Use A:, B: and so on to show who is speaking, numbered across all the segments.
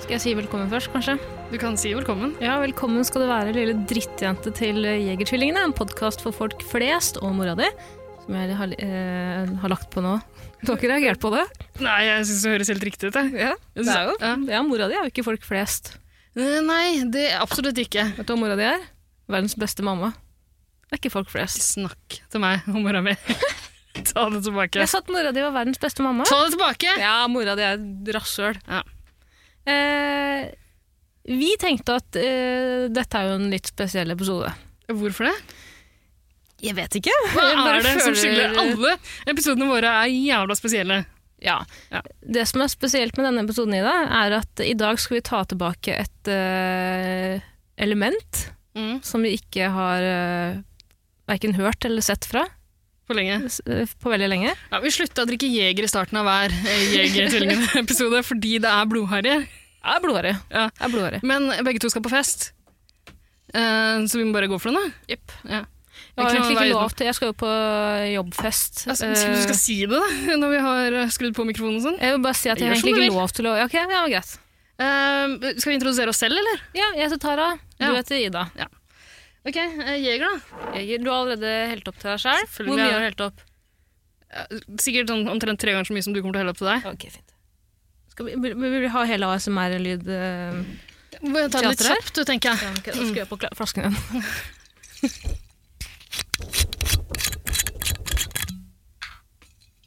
A: Skal jeg si velkommen først, kanskje?
B: Du kan si velkommen.
A: Ja, velkommen skal du være, lille drittjente til Jegertvillingene. En podkast for folk flest og mora di, som jeg har, eh, har lagt på nå. Du har ikke reagert på det?
B: Nei, jeg syns det høres helt riktig ut. Jeg.
A: Ja,
B: Jeg synes-
A: ja. ja mora di er jo ikke folk flest.
B: Eh, Nei, det er absolutt ikke.
A: Vet du hva mora di er? Verdens beste mamma. Det er ikke folk flest.
B: Snakk til meg om mora mi. Ta det tilbake.
A: Jeg sa at mora di var verdens beste mamma.
B: Ta det tilbake!
A: Ja, mora di er et rasshøl.
B: Ja.
A: Eh, vi tenkte at eh, dette er jo en litt spesiell episode.
B: Hvorfor det?
A: Jeg vet ikke.
B: Hva er det som skiller alle episodene våre er jævla spesielle?
A: Ja.
B: Ja.
A: Det som er spesielt med denne episoden, Ida, er at i dag skal vi ta tilbake et eh, element
B: Mm,
A: som vi ikke har uh, verken hørt eller sett fra
B: for lenge.
A: s- eh, på veldig lenge.
B: Ja, vi slutta å drikke Jeger i starten av hver eh, Jegertvillingene-episode fordi det er blodharry.
A: Det er blodåre.
B: Ja.
A: Det er blodåre.
B: Men begge to skal på fest, Eh, så vi må bare gå for den, da.
A: Jepp.
B: Ja.
A: Jeg har
B: Det er ikke noe
A: egentlig
B: vei
A: ikke
B: utenom.
A: lov til Jeg skal jo på jobbfest.
B: Altså, du skal
A: Eh,
B: si det, da, når vi har eh, skrudd på mikrofonen og sånn.
A: jeg vil bare si at jeg
B: Gjør
A: har
B: som du
A: egentlig ikke
B: vil.
A: lov til å ja, Ok, ja, men greit.
B: Ehm, skal vi introdusere oss selv, eller?
A: Ja, jeg heter Tara. Du
B: Ja.
A: heter Ida.
B: Ok, eh, Jeger, da.
A: Jeg, du har allerede helt opp til deg sjøl.
B: Selvfølgelig
A: Hvor mye
B: har jeg
A: har du helt opp?
B: Eh, Sikkert sånn omtrent tre ganger så mye som du kommer til å helle opp til deg.
A: Ok, fint. Skal vi, vil, vil vi ha hele ASMR-lyd? eh?
B: Må jeg Ta det litt
A: Teater her?
B: kjapt, tenker jeg.
A: Ja, ok, da skrur jeg på kla- flasken igjen.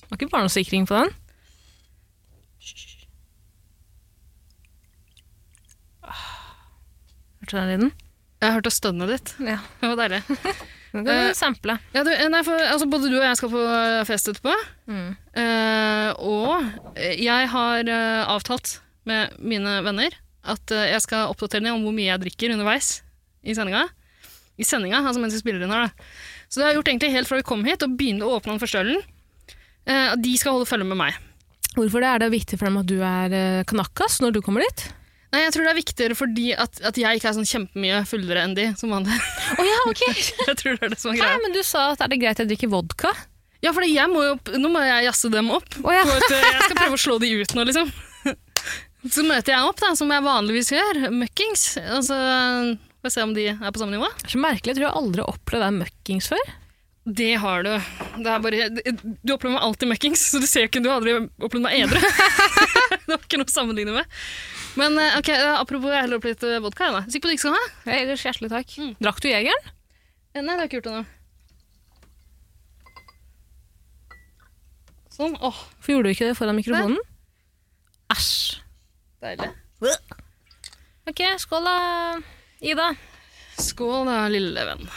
A: Var ikke barnesikring på den? Hørte du den lyden?
B: Jeg hørte stønnet ditt.
A: Ja.
B: Det var deilig.
A: Den kan du sample.
B: Ja, du, eh, nei, for, altså, både du og jeg skal på eh, fest etterpå.
A: Mm.
B: Eh, og eh, jeg har eh, avtalt med mine venner at eh, jeg skal oppdatere dem om hvor mye jeg drikker underveis i sendinga. I sendinga, altså mens vi spiller inn her, da. Så det har jeg gjort egentlig helt fra vi kom hit og begynte å åpne den første ølen. eh, at de skal holde følge med meg.
A: Hvorfor det er det viktig for dem at du er eh, kanakas når du kommer dit?
B: Nei, jeg tror det er viktigere fordi at, at jeg ikke er sånn kjempemye fullere enn de som vanlig.
A: Å ja, ok!
B: jeg tror det er det som er
A: Nei,
B: greia.
A: men du sa at er det greit jeg drikker vodka?
B: Ja, fordi jeg må jo, opp- nå må jeg jazze dem opp.
A: Å ja.
B: På et, eh, jeg skal prøve å slå de ut nå, liksom. Så møter jeg opp, da, som jeg vanligvis gjør, møkkings. Og så får jeg se om de er på samme nivå.
A: Det er så merkelig, jeg tror jeg aldri har opplevd deg møkkings før.
B: Det har du. Det er bare, du opplever meg alltid møkkings, så du ser jo ikke, du har aldri opplevd meg edru. det var ikke noe å sammenligne med. Men eh, ok, eh, apropos, jeg heller opp litt eh, vodka. jeg, da. Sikker på at du ikke skal ha?
A: Ja, ellers hjertelig takk.
B: Mm.
A: Drakk du jegeren?
B: Eh, Nei, det har jeg ikke gjort ennå. Sånn. Åh,
A: Hvorfor gjorde du ikke det foran mikrofonen? Æsj.
B: deilig.
A: Ok, skål da, Ida.
B: Skål da, lille venn.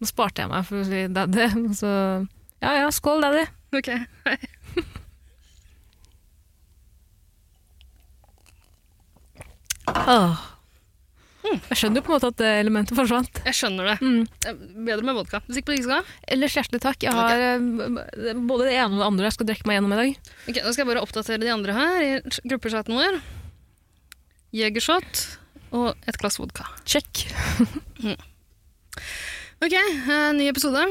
A: Nå sparte jeg meg for å si daddy, og så Ja ja, skål, daddy.
B: Ok, hei.
A: Åh. Jeg skjønner jo på en måte at det elementet forsvant.
B: Jeg skjønner det.
A: Mm.
B: Eh, Bedre med vodka. Sikker på at du ikke skal ha?
A: Ellers hjertelig takk. Jeg har eh, b- b- både det ene og det andre jeg skal drikke meg gjennom i dag.
B: Ok, Nå skal jeg bare oppdatere de andre her i ch- gruppechatten vår. Jegershot og et glass vodka.
A: Check.
B: Ok, eh, ny episode.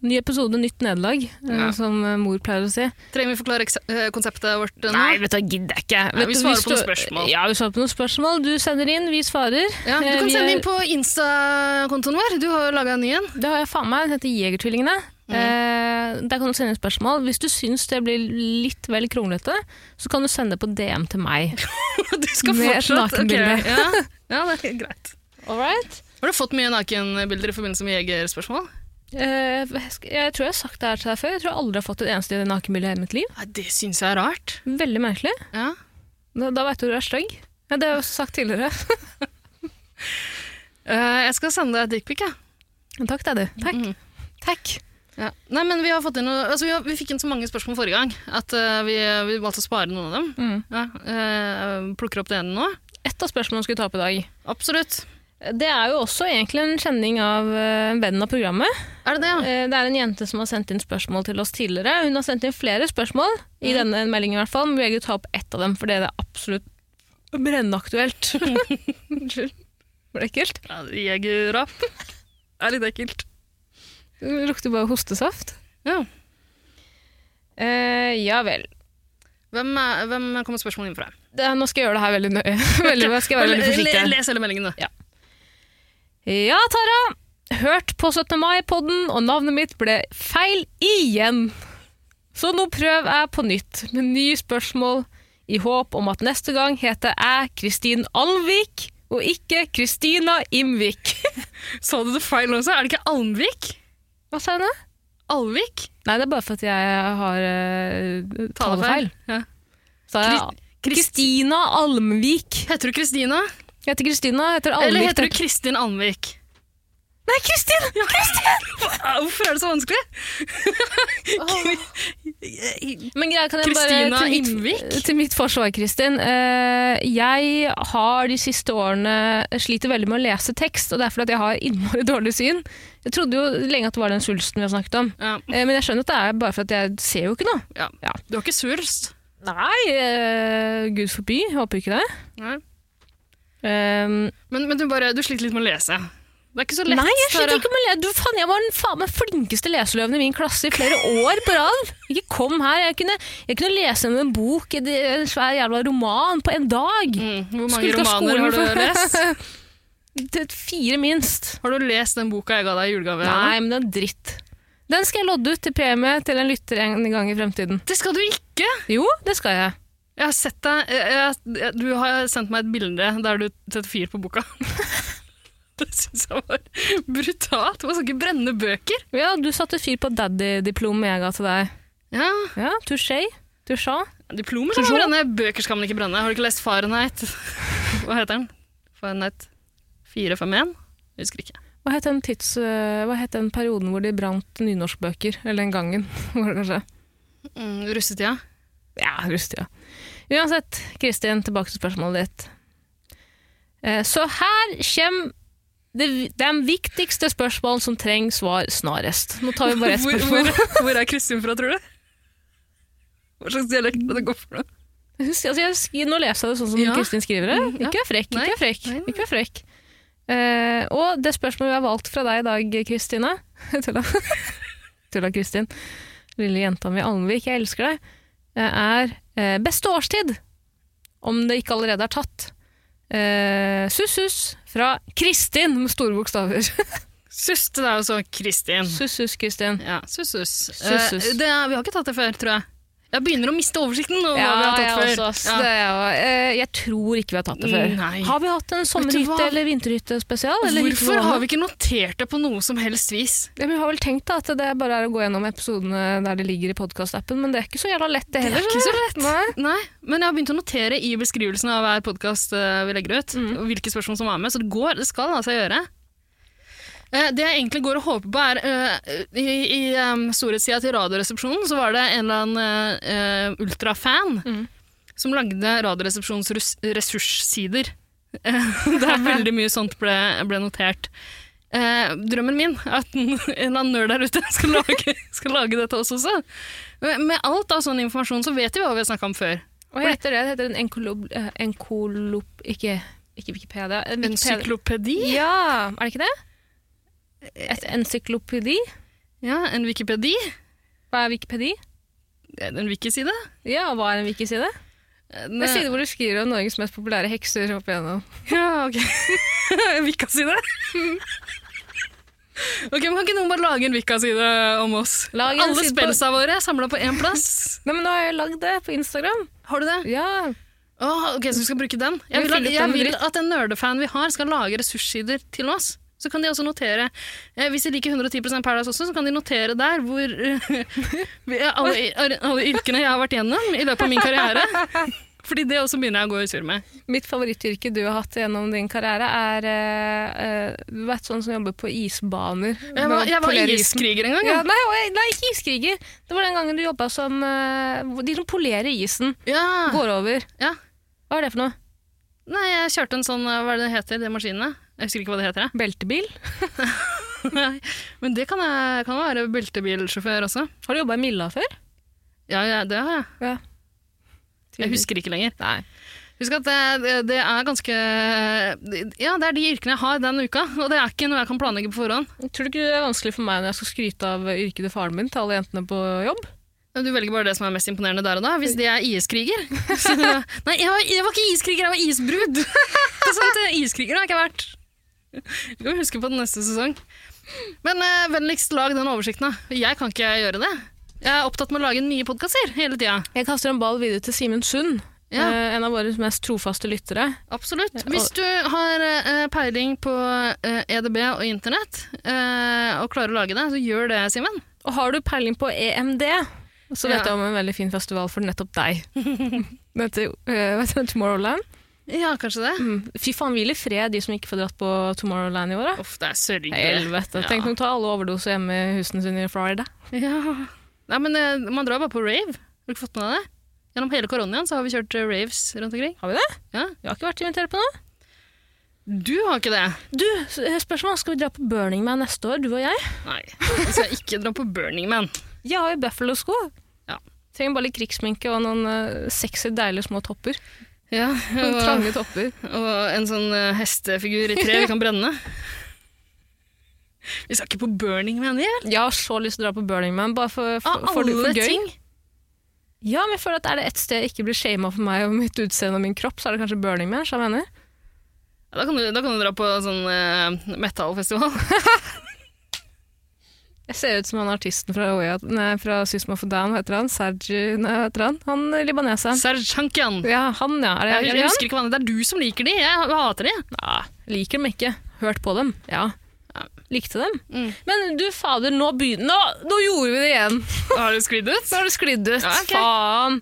A: Ny episode, nytt nederlag, eh,
B: Ja.
A: som eh, mor pleier å si.
B: Trenger vi forklare ekse- eh, konseptet vårt eh, nå?
A: Nei, vet du, jeg gidder jeg ikke.
B: Nei,
A: Vet
B: vi
A: du,
B: svarer
A: hvis
B: på noen
A: du-
B: spørsmål.
A: Ja, vi svarer på noen spørsmål. Du sender inn, vi svarer.
B: Ja, du
A: Eh,
B: kan
A: vi
B: sende
A: er-
B: inn på Insta-kontoen vår. Du har jo laga en ny en.
A: Det har jeg faen meg. Den heter Jegertvillingene. Eh, der kan du sende inn spørsmål. Hvis du syns det blir litt vel kronglete, så kan du sende det på DM til meg.
B: Du skal
A: Med et
B: fortsatt. ok.
A: nakenbilde.
B: Ja. ja, det er greit.
A: All right.
B: Har du fått mye nakenbilder i forbindelse med jegerspørsmål?
A: Eh, sk- jeg tror jeg har sagt det her til deg før. Jeg tror jeg aldri har fått et eneste nakenbilde i hele mitt liv.
B: Nei, det syns jeg er rart.
A: Veldig merkelig.
B: Ja.
A: Da, da veit du du er stygg. Ja, det har jeg også sagt tidligere.
B: Eh, jeg skal sende deg et dickpic, jeg.
A: Takk, daddy. Takk.
B: Mhm.
A: Mm. Takk.
B: Ja. Nei, men vi, har fått inn noe, altså vi, har, vi fikk inn så mange spørsmål forrige gang at eh, vi, vi valgte å spare noen av dem.
A: Mm.
B: Ja, eh, plukker opp det ene nå.
A: Et av spørsmålene vi skulle ta opp i dag,
B: Absolutt.
A: Det er jo også egentlig en kjenning av eh, en venn av programmet.
B: Er det det, ja?
A: Eh, Det er en jente som har sendt inn spørsmål til oss tidligere. Hun har sendt inn flere spørsmål i denne meldingen i hvert fall, men vi vil ta opp ett av dem, for det er absolutt brennaktuelt. Unnskyld. Var det ekkelt?
B: ja Jegerrap. er litt ekkelt.
A: Det lukter bare hostesaft.
B: Ja.
A: Eh, ja vel.
B: Hvem, er- hvem kommer spørsmålet inn fra?
A: Det, nå skal jeg gjøre det her veldig nøye. Veldig, jeg skal være veldig forsiktig.
B: Le- Les hele meldingen, du.
A: Ja, Tara. Hørt på 17. mai-podden, og navnet mitt ble feil igjen. Så nå prøv jeg på nytt med nye spørsmål, i håp om at neste gang heter jeg Kristin Alvik, og ikke Kristina Imvik.
B: Sa du det feil også? Er det ikke Almvik?
A: Hva sa jeg nå?
B: Alvik?
A: Nei, det er bare for at jeg har uh, talefeil.
B: Ja.
A: Sa jeg Kristina Almvik.
B: Heter du Kristina?
A: Jeg heter Kristina, jeg heter Alvik.
B: Eller heter du
A: det-
B: Kristin Almvik?
A: Nei, Kristin!
B: Hvorfor er det så vanskelig?
A: Men greia kan jeg
B: Kristina
A: bare til mitt,
B: Imvik?
A: til mitt forsvar, Kristin. eh, jeg har de siste årene sliter veldig med å lese tekst, og det er fordi at jeg har innmari dårlig syn. Jeg trodde jo lenge at det var den svulsten vi har snakket om.
B: Ja,
A: Eh, men jeg skjønner at det er bare for at jeg ser jo ikke noe.
B: ja.
A: Ja.
B: Du har ikke surst?
A: Nei, eh, gud forby. Jeg håper ikke det.
B: Nei.
A: Eh,
B: Men, men du, bare, du sliter litt med å lese. Det er ikke så lett.
A: nei, jeg sliter
B: Tara.
A: ikke med å lese. Du, faen, jeg var den faen meg flinkeste leseløven i min klasse i flere år på rad. Ikke kom her. Jeg kunne, jeg kunne lese gjennom en bok, en svær jævla roman, på en dag.
B: Mm, hvor mange
A: Skulle ta
B: romaner har du
A: skolen for-
B: lest?
A: Det er Fire minst.
B: Har du lest den boka jeg ga deg i julegave? Anna?
A: Nei, men det er dritt. Den skal jeg lodde ut til premie til en lytter en gang i fremtiden.
B: Det skal du ikke!
A: Jo, det skal jeg.
B: Jeg har sett deg, jeg, jeg, du har sendt meg et bilde der du setter fyr på boka. det syns jeg var brutalt. Man skal ikke brenne bøker.
A: Ja, du satte fyr på daddy-diplomet jeg ga til deg.
B: Ja,
A: Ja, touché. Touché.
B: Diplomer skal man brenne, bøker skal man ikke brenne. Har du ikke lest Fahrenheit? Hva heter den? Fahrenheit 451? Jeg husker ikke.
A: Hva het den, tids, øh, hva het den perioden hvor de brant nynorskbøker? Eller den gangen, var det kanskje?
B: Mm, russetida?
A: Ja, rustig, ja. Uansett, Kristin, tilbake til spørsmålet ditt. Eh, Så her kommer det- de viktigste spørsmålene som trenger svar snarest. Nå tar vi bare ett
B: Hvor,
A: spørsmål.
B: hvor, hvor er Kristin fra, tror du? Hva slags dialekt er det går for noe?
A: Jeg synes- Altså, jeg, sk- nå leser jeg det sånn som
B: Ja.
A: Kristin skriver det.
B: Mm, ja.
A: Ikke vær frekk,
B: Nei.
A: ikke vær frekk.
B: Nei, nei.
A: Ikke vær frekk. Eh, og det spørsmålet vi har valgt fra deg i dag, Kristina Tulla. Tulla, Kristin. Lille jenta mi Almvik, jeg elsker deg. eh, Er eh, beste årstid, om det ikke allerede er tatt. Eh, Sussus fra Kristin, med store bokstaver.
B: Mm. Suss til deg også, Kristin.
A: Sussus, Kristin.
B: Ja, suss, suss.
A: Suss, suss.
B: Eh, det er- vi har ikke tatt det før, tror jeg. Jeg begynner å miste oversikten over hva vi har tatt
A: jeg
B: før.
A: også, ass. Det er jeg også. Eh, jeg tror ikke vi har tatt det før.
B: Nei.
A: Har vi hatt en sommerhytte
B: hva?
A: eller vinterhytte spesial? Eller
B: Hvorfor har vi ikke notert det på noe som helst vis?
A: Ja, men vi har vel tenkt da, at det bare er å gå gjennom episodene der det ligger i podkast-appen, men det er ikke så jævla lett det
B: Det er
A: heller.
B: ikke så
A: lett. Nei.
B: Nei, men jeg har begynt å notere i beskrivelsen av hver podkast vi legger ut, og hvilke spørsmål som er med, så det går, det skal la seg gjøre. Eh, Det jeg egentlig går og håper på, er eh, I, i em, storhetstida til Radioresepsjonen så var det en eller annen eh, eh, ultrafan
A: Mm.
B: som lagde Radioresepsjonens rus- ressurssider. Eh, Der veldig mye sånt ble, ble notert. Eh, drømmen min er at en en eller annen nerd der ute skal lage, skal lage dette også. også. Med med alt av sånn informasjon så vet vi hva vi har snakka om før.
A: Hva heter det? Det heter en enkolob... eh, Enkolop... Ikke, ikke Wikipedia. eh, Wikipedia.
B: Encyklopedi?
A: Ja, er det ikke det? Et encyklopedi?
B: Ja, en Eh, wikipedi.
A: Hva er wikipedi?
B: En wikiside.
A: Ja, hva er en wikiside? Det er
B: Ne-
A: side hvor du skriver om Norges mest populære hekser opp igjennom.
B: Ja, ok. en vikaside. ok, men Kan ikke noen bare lage en vikaside om oss?
A: Lag en
B: Alle
A: side på-
B: spelsa våre er samla på én plass.
A: Nei, men nå har jeg lagd det på Instagram.
B: Har du det?
A: Ja,
B: Åh, ok, Så du skal bruke den? Jeg
A: Vi fyller
B: vil, at,
A: opp
B: jeg
A: den med
B: vil at en nerdefan vi har, skal lage ressurssider til oss. Så kan de også notere eh, Hvis de liker 110 Paradise også, så kan de notere der hvor eh, vi- alle, alle yrkene jeg har vært gjennom i løpet av min karriere. Fordi det også begynner jeg å gå i surr med.
A: Mitt favorittyrke du har hatt gjennom din karriere, er eh, eh, Du vet sånn som jobber på isbaner.
B: Jeg
A: med å
B: var, jeg var
A: polere isen.
B: iskriger en gang.
A: Ja,
B: Ja.
A: nei, og jeg- nei, ikke iskriger. Det var den gangen du jobba som eh, hvor De som polerer isen,
B: Ja.
A: går over.
B: Ja.
A: Hva er det for noe?
B: Nei, jeg kjørte en sånn, hva er det det heter, de maskinene? Jeg husker ikke hva det heter, jeg.
A: Beltebil?
B: Nei, Men det kan jeg kan være beltebilsjåfør også.
A: Har du jobba i Milla før?
B: Ja, ja, det har jeg.
A: Ja.
B: Jeg husker ikke lenger.
A: Nei.
B: Husk at det, det- det er ganske Ja, det er de yrkene jeg har den uka, og det er ikke noe jeg kan planlegge på forhånd.
A: Tror du ikke det er vanskelig for meg når jeg skal skryte av yrket til faren min til alle jentene på jobb?
B: Du velger bare det som er mest imponerende der og da, hvis det er IS-kriger. Så- Nei, jeg var, jeg var ikke IS-kriger, jeg var isbrud! Det er sant, eh, iskriger har jeg ikke vært. Du kan huske på den neste sesong. Men eh, vennligst lag den oversikten, da. Jeg kan ikke gjøre det. Jeg er opptatt med å lage nye podkaster hele tida.
A: Jeg kaster en ball videre til Simen Sund,
B: Ja.
A: eh, en av våre mest trofaste lyttere.
B: Absolutt. Hvis du har eh, peiling på eh, EDB og internett, eh, og klarer å lage det, så gjør det, Simen.
A: Og har du peiling på EMD, så vet
B: Ja.
A: jeg om en veldig fin festival for nettopp deg. Den heter eh, hva heter den, Tomorrowland.
B: Ja, kanskje det.
A: Mm. Fy faen, hvil i fred, de som ikke får dratt på Tomorrowland i år. da.
B: Uff, det er sørgelig.
A: Helvete.
B: Ja.
A: Tenk om de tar alle overdose hjemme i husene sine i Florida.
B: Ja. Nei, men eh, man drar bare på rave. Har du ikke fått med deg det? Gjennom hele koronaen så har vi kjørt eh, raves rundt omkring.
A: Har vi det?
B: Ja.
A: Jeg har ikke vært invitert på noe.
B: Du har ikke det?
A: Du, s- eh, spørsmål. Skal vi dra på Burning Man neste år, du og jeg?
B: Nei. Jeg skal ikke dra på Burning Man.
A: Jeg har jo Buffalo-sko.
B: Ja.
A: Trenger bare litt krigsminke og noen eh, sexy, deilige små topper.
B: Ja,
A: Noen
B: og,
A: trange topper.
B: og en sånn eh, hestefigur i tre vi kan brenne. Vi skal ikke på Burning Man, vel?
A: Jeg har så lyst til å dra på Burning Man, bare for, for,
B: Av
A: for, for,
B: alle
A: gøy.
B: ting.
A: Ja, men jeg føler at er det ett sted jeg ikke blir shama for meg og mitt utseende og min kropp, så er det kanskje Burning Man. så jeg mener.
B: Ja, Da kan, du, da kan du dra på sånn uh, metallfestival.
A: Jeg ser ut som han artisten fra, Oya, nei, fra System of a Down, hva heter han? Sergi, nei, hva heter han? Han eh, libaneseren.
B: Serge Hankian.
A: Ja, han, ja. Er det,
B: Jeg,
A: er
B: jeg
A: det
B: husker ikke hva han Det er du som liker de. Jeg hater de.
A: han? Nei, liker dem ikke. Hørt på dem. Ja. Ah,
B: Ja.
A: Likte dem.
B: Mm.
A: Men du fader, nå begynner nå, nå gjorde vi det igjen!
B: Har du sklidd ut?
A: Nå har det sklidd ut.
B: Ja, ok.
A: Faen.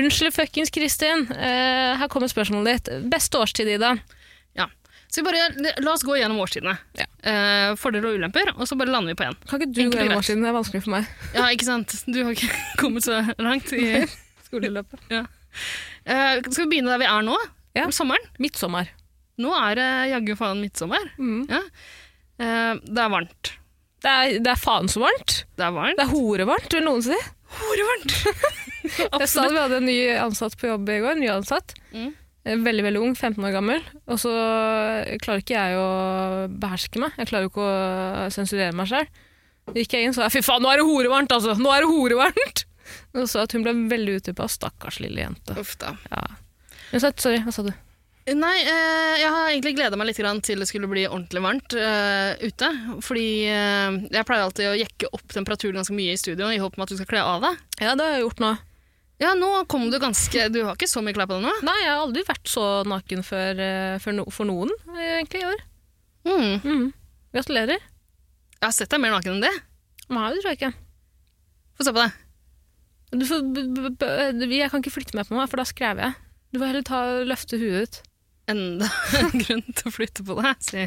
A: Unnskyld fuckings Kristin. Eh, her kommer spørsmålet ditt. Beste årstid, Ida?
B: Ja. Så vi bare, la oss gå gjennom årstidene.
A: Ja.
B: Eh, fordeler og ulemper, og så bare lander vi på én.
A: Kan ikke du gå
B: Enkelt
A: gjennom
B: og greit.
A: årstiden? Det er vanskelig for meg.
B: Ja, ikke sant? Du har ikke kommet så langt. I,
A: Skoleløpet.
B: Eh, skal vi begynne der vi er nå?
A: Ja.
B: Om Sommeren?
A: Midtsommer.
B: Nå er det jaggu faen midtsommer.
A: Mm.
B: Ja. Eh, det er varmt.
A: Det er, det er faen så varmt.
B: Det er varmt.
A: Det er horevarmt, vil noen si.
B: horevarmt!
A: Jeg sa vi hadde en ny ansatt på jobb i går. Ny ansatt.
B: Mm.
A: Eh, Veldig veldig ung, 15 år gammel. Og så klarer ikke jeg å beherske meg. Jeg klarer jo ikke å sensurere meg sjøl. Gikk jeg inn, så jeg, fy faen, nå er det horevarmt, altså! Nå er det horevarmt! Og så at hun ble veldig utypa. Stakkars lille jente.
B: Uff da.
A: Ja. Hun sa, sorry, hva sa du?
B: Nei, eh, jeg har egentlig gleda meg litt grann til det skulle bli ordentlig varmt eh, ute. Fordi eh, jeg pleier alltid å jekke opp temperaturen ganske mye i studio i håp om at du skal kle av deg.
A: Ja, det har jeg gjort nå.
B: Ja, nå kom du ganske Du har ikke så mye klær på deg nå?
A: Nei, jeg har aldri vært så naken før, eh, for, no, for noen, eh, egentlig, i år.
B: Mm.
A: Mm. Gratulerer.
B: Jeg har sett deg mer naken enn det.
A: Nei, det tror jeg ikke.
B: Få se på deg.
A: Du får, b- b- b- jeg kan ikke flytte meg på meg, for da skrev jeg. Du får heller ta, løfte huet ut.
B: Enda en grunn til å flytte på deg, si.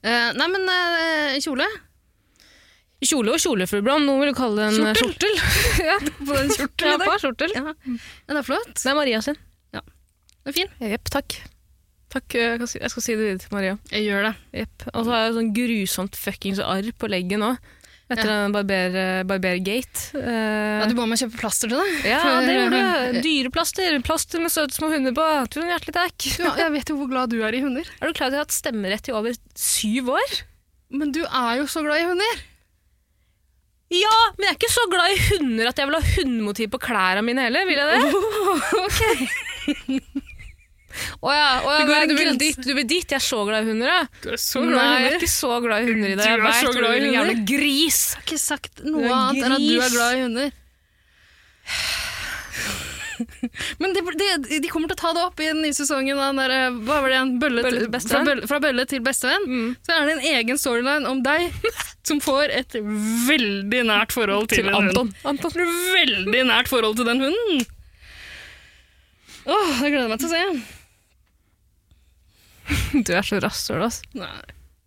B: Eh, nei, men eh, kjole.
A: Kjole og kjolefrublom, noen vil kalle det en eh, skjortel. ja,
B: På den
A: ja,
B: kjortelen
A: det var skjortel.
B: Ja. ja, det er flott.
A: Det er Maria sin.
B: Det er fin.
A: Jepp, takk. Takk, eh, jeg kan si- jeg skal si det videre til Maria.
B: Jeg gjør det.
A: Jepp. Og så har jeg sånn grusomt fuckings arr på leggen nå. Etter den barber, eh, barbergate. Eh,
B: Ja, du ba meg kjøpe plaster til deg.
A: ja,
B: for-
A: det gjorde du. Dyreplaster. Plaster med søte små hunder på. Tusen hjertelig takk.
B: Du, jeg vet jo hvor glad du er i hunder.
A: Er du klar til at jeg har hatt stemmerett i over syv år?
B: Men du er jo så glad i hunder.
A: Ja, men jeg er ikke så glad i hunder at jeg vil ha hundemotiv på klærne mine heller. Vil jeg det?
B: Oh,
A: Å ja, å ja
B: Det går
A: det er
B: en
A: grunn-
B: grense.
A: dit, du vil dit. Jeg er så glad i hunder, ja.
B: Du er så
A: Nei, jeg er ikke så glad i hunder i det.
B: Du
A: Jeg
B: er
A: vet
B: så
A: hvor
B: glad
A: du
B: i
A: vil,
B: hunder.
A: jævla gris.
B: Jeg har ikke sagt
A: Du
B: noe
A: er
B: annet enn at du
A: gris.
B: er glad i hunder. Men de, de, de kommer til å ta det opp i den nye sesongen av den der, eh, hva var det igjen? Bølle
A: Bølle til
B: til
A: bestevenn.
B: fra, bølle, fra bølle til bestevenn. Så er det en egen storyline om deg som får et veldig nært forhold til,
A: Til
B: en hund.
A: Anton. Anton.
B: Får du veldig nært forhold til den hunden. Åh, det gleder jeg meg til å se.
A: Du er så rasshøl, ass.
B: Nei.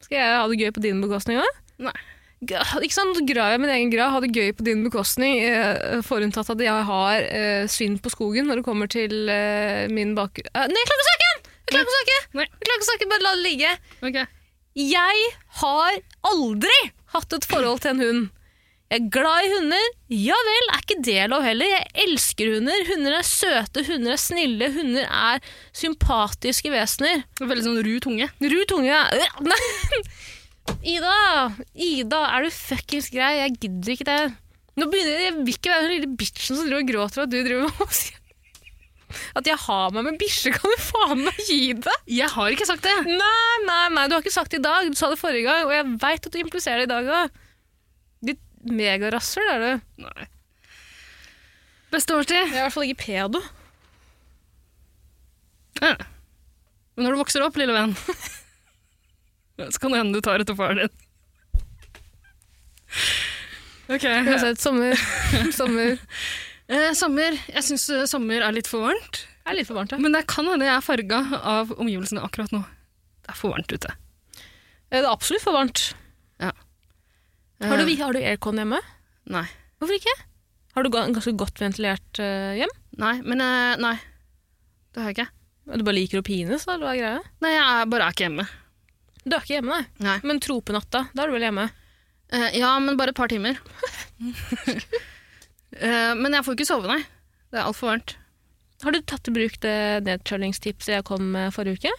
A: Skal jeg ha det gøy på din bekostning òg?
B: Nei.
A: Ikke sant, grav jeg min egen grav, ha det gøy på din bekostning, eh, forutsatt at jeg har eh, svinn på skogen når det kommer til eh, min bak... Eh, nei, klokkesaken! Jeg klarer ikke å snakke!
B: Nei.
A: Jeg klarer ikke å snakke, Bare la det ligge.
B: Ok.
A: Jeg har aldri hatt et forhold til en hund. Jeg er glad i hunder. Ja vel, er ikke det lov heller? Jeg elsker hunder. Hunder er søte, hunder er snille, hunder er sympatiske vesener.
B: Veldig sånn ru tunge.
A: Ru tunge Øh, Nei! Ida! Ida, er du fuckings grei? Jeg gidder ikke det. Nå begynner jeg, jeg vil ikke være den lille bitchen som driver og gråter at du driver og sier at jeg har meg med bikkje. Kan du faen meg gi deg?
B: Jeg har ikke sagt det!
A: Nei, nei, nei, du har ikke sagt det i dag. Du sa det forrige gang, og jeg veit at du impliserer det i dag òg. Ditt megarasshøl er du.
B: Nei. Beste årstid?
A: Jeg er i hvert fall ikke pedo.
B: Nei. Men når du vokser opp, lille venn, så kan det hende du tar etter faren din. Ok.
A: Uansett, sommer. sommer.
B: Eh, sommer. Jeg syns eh, sommer er litt for varmt.
A: Det er litt for varmt, ja.
B: Men det kan hende jeg er farga av omgivelsene akkurat nå. Det er for varmt ute.
A: Det er absolutt for varmt. Har du,
B: Eh,
A: vi- har du aircon hjemme?
B: Nei.
A: Hvorfor ikke? Har du ga- en ganske godt ventilert eh, hjem?
B: Nei, men eh, nei. Det har jeg ikke.
A: Du bare liker å pines, da? eller hva er greia?
B: Nei, jeg er bare er ikke hjemme.
A: Du er ikke hjemme, nei.
B: Nei.
A: Men tropenatta, da er du vel hjemme?
B: Eh, ja, men bare et par timer. Eh, men jeg får ikke sove, nei. Det er altfor varmt.
A: Har du tatt i bruk det nedkjølingstipset jeg kom med forrige uke?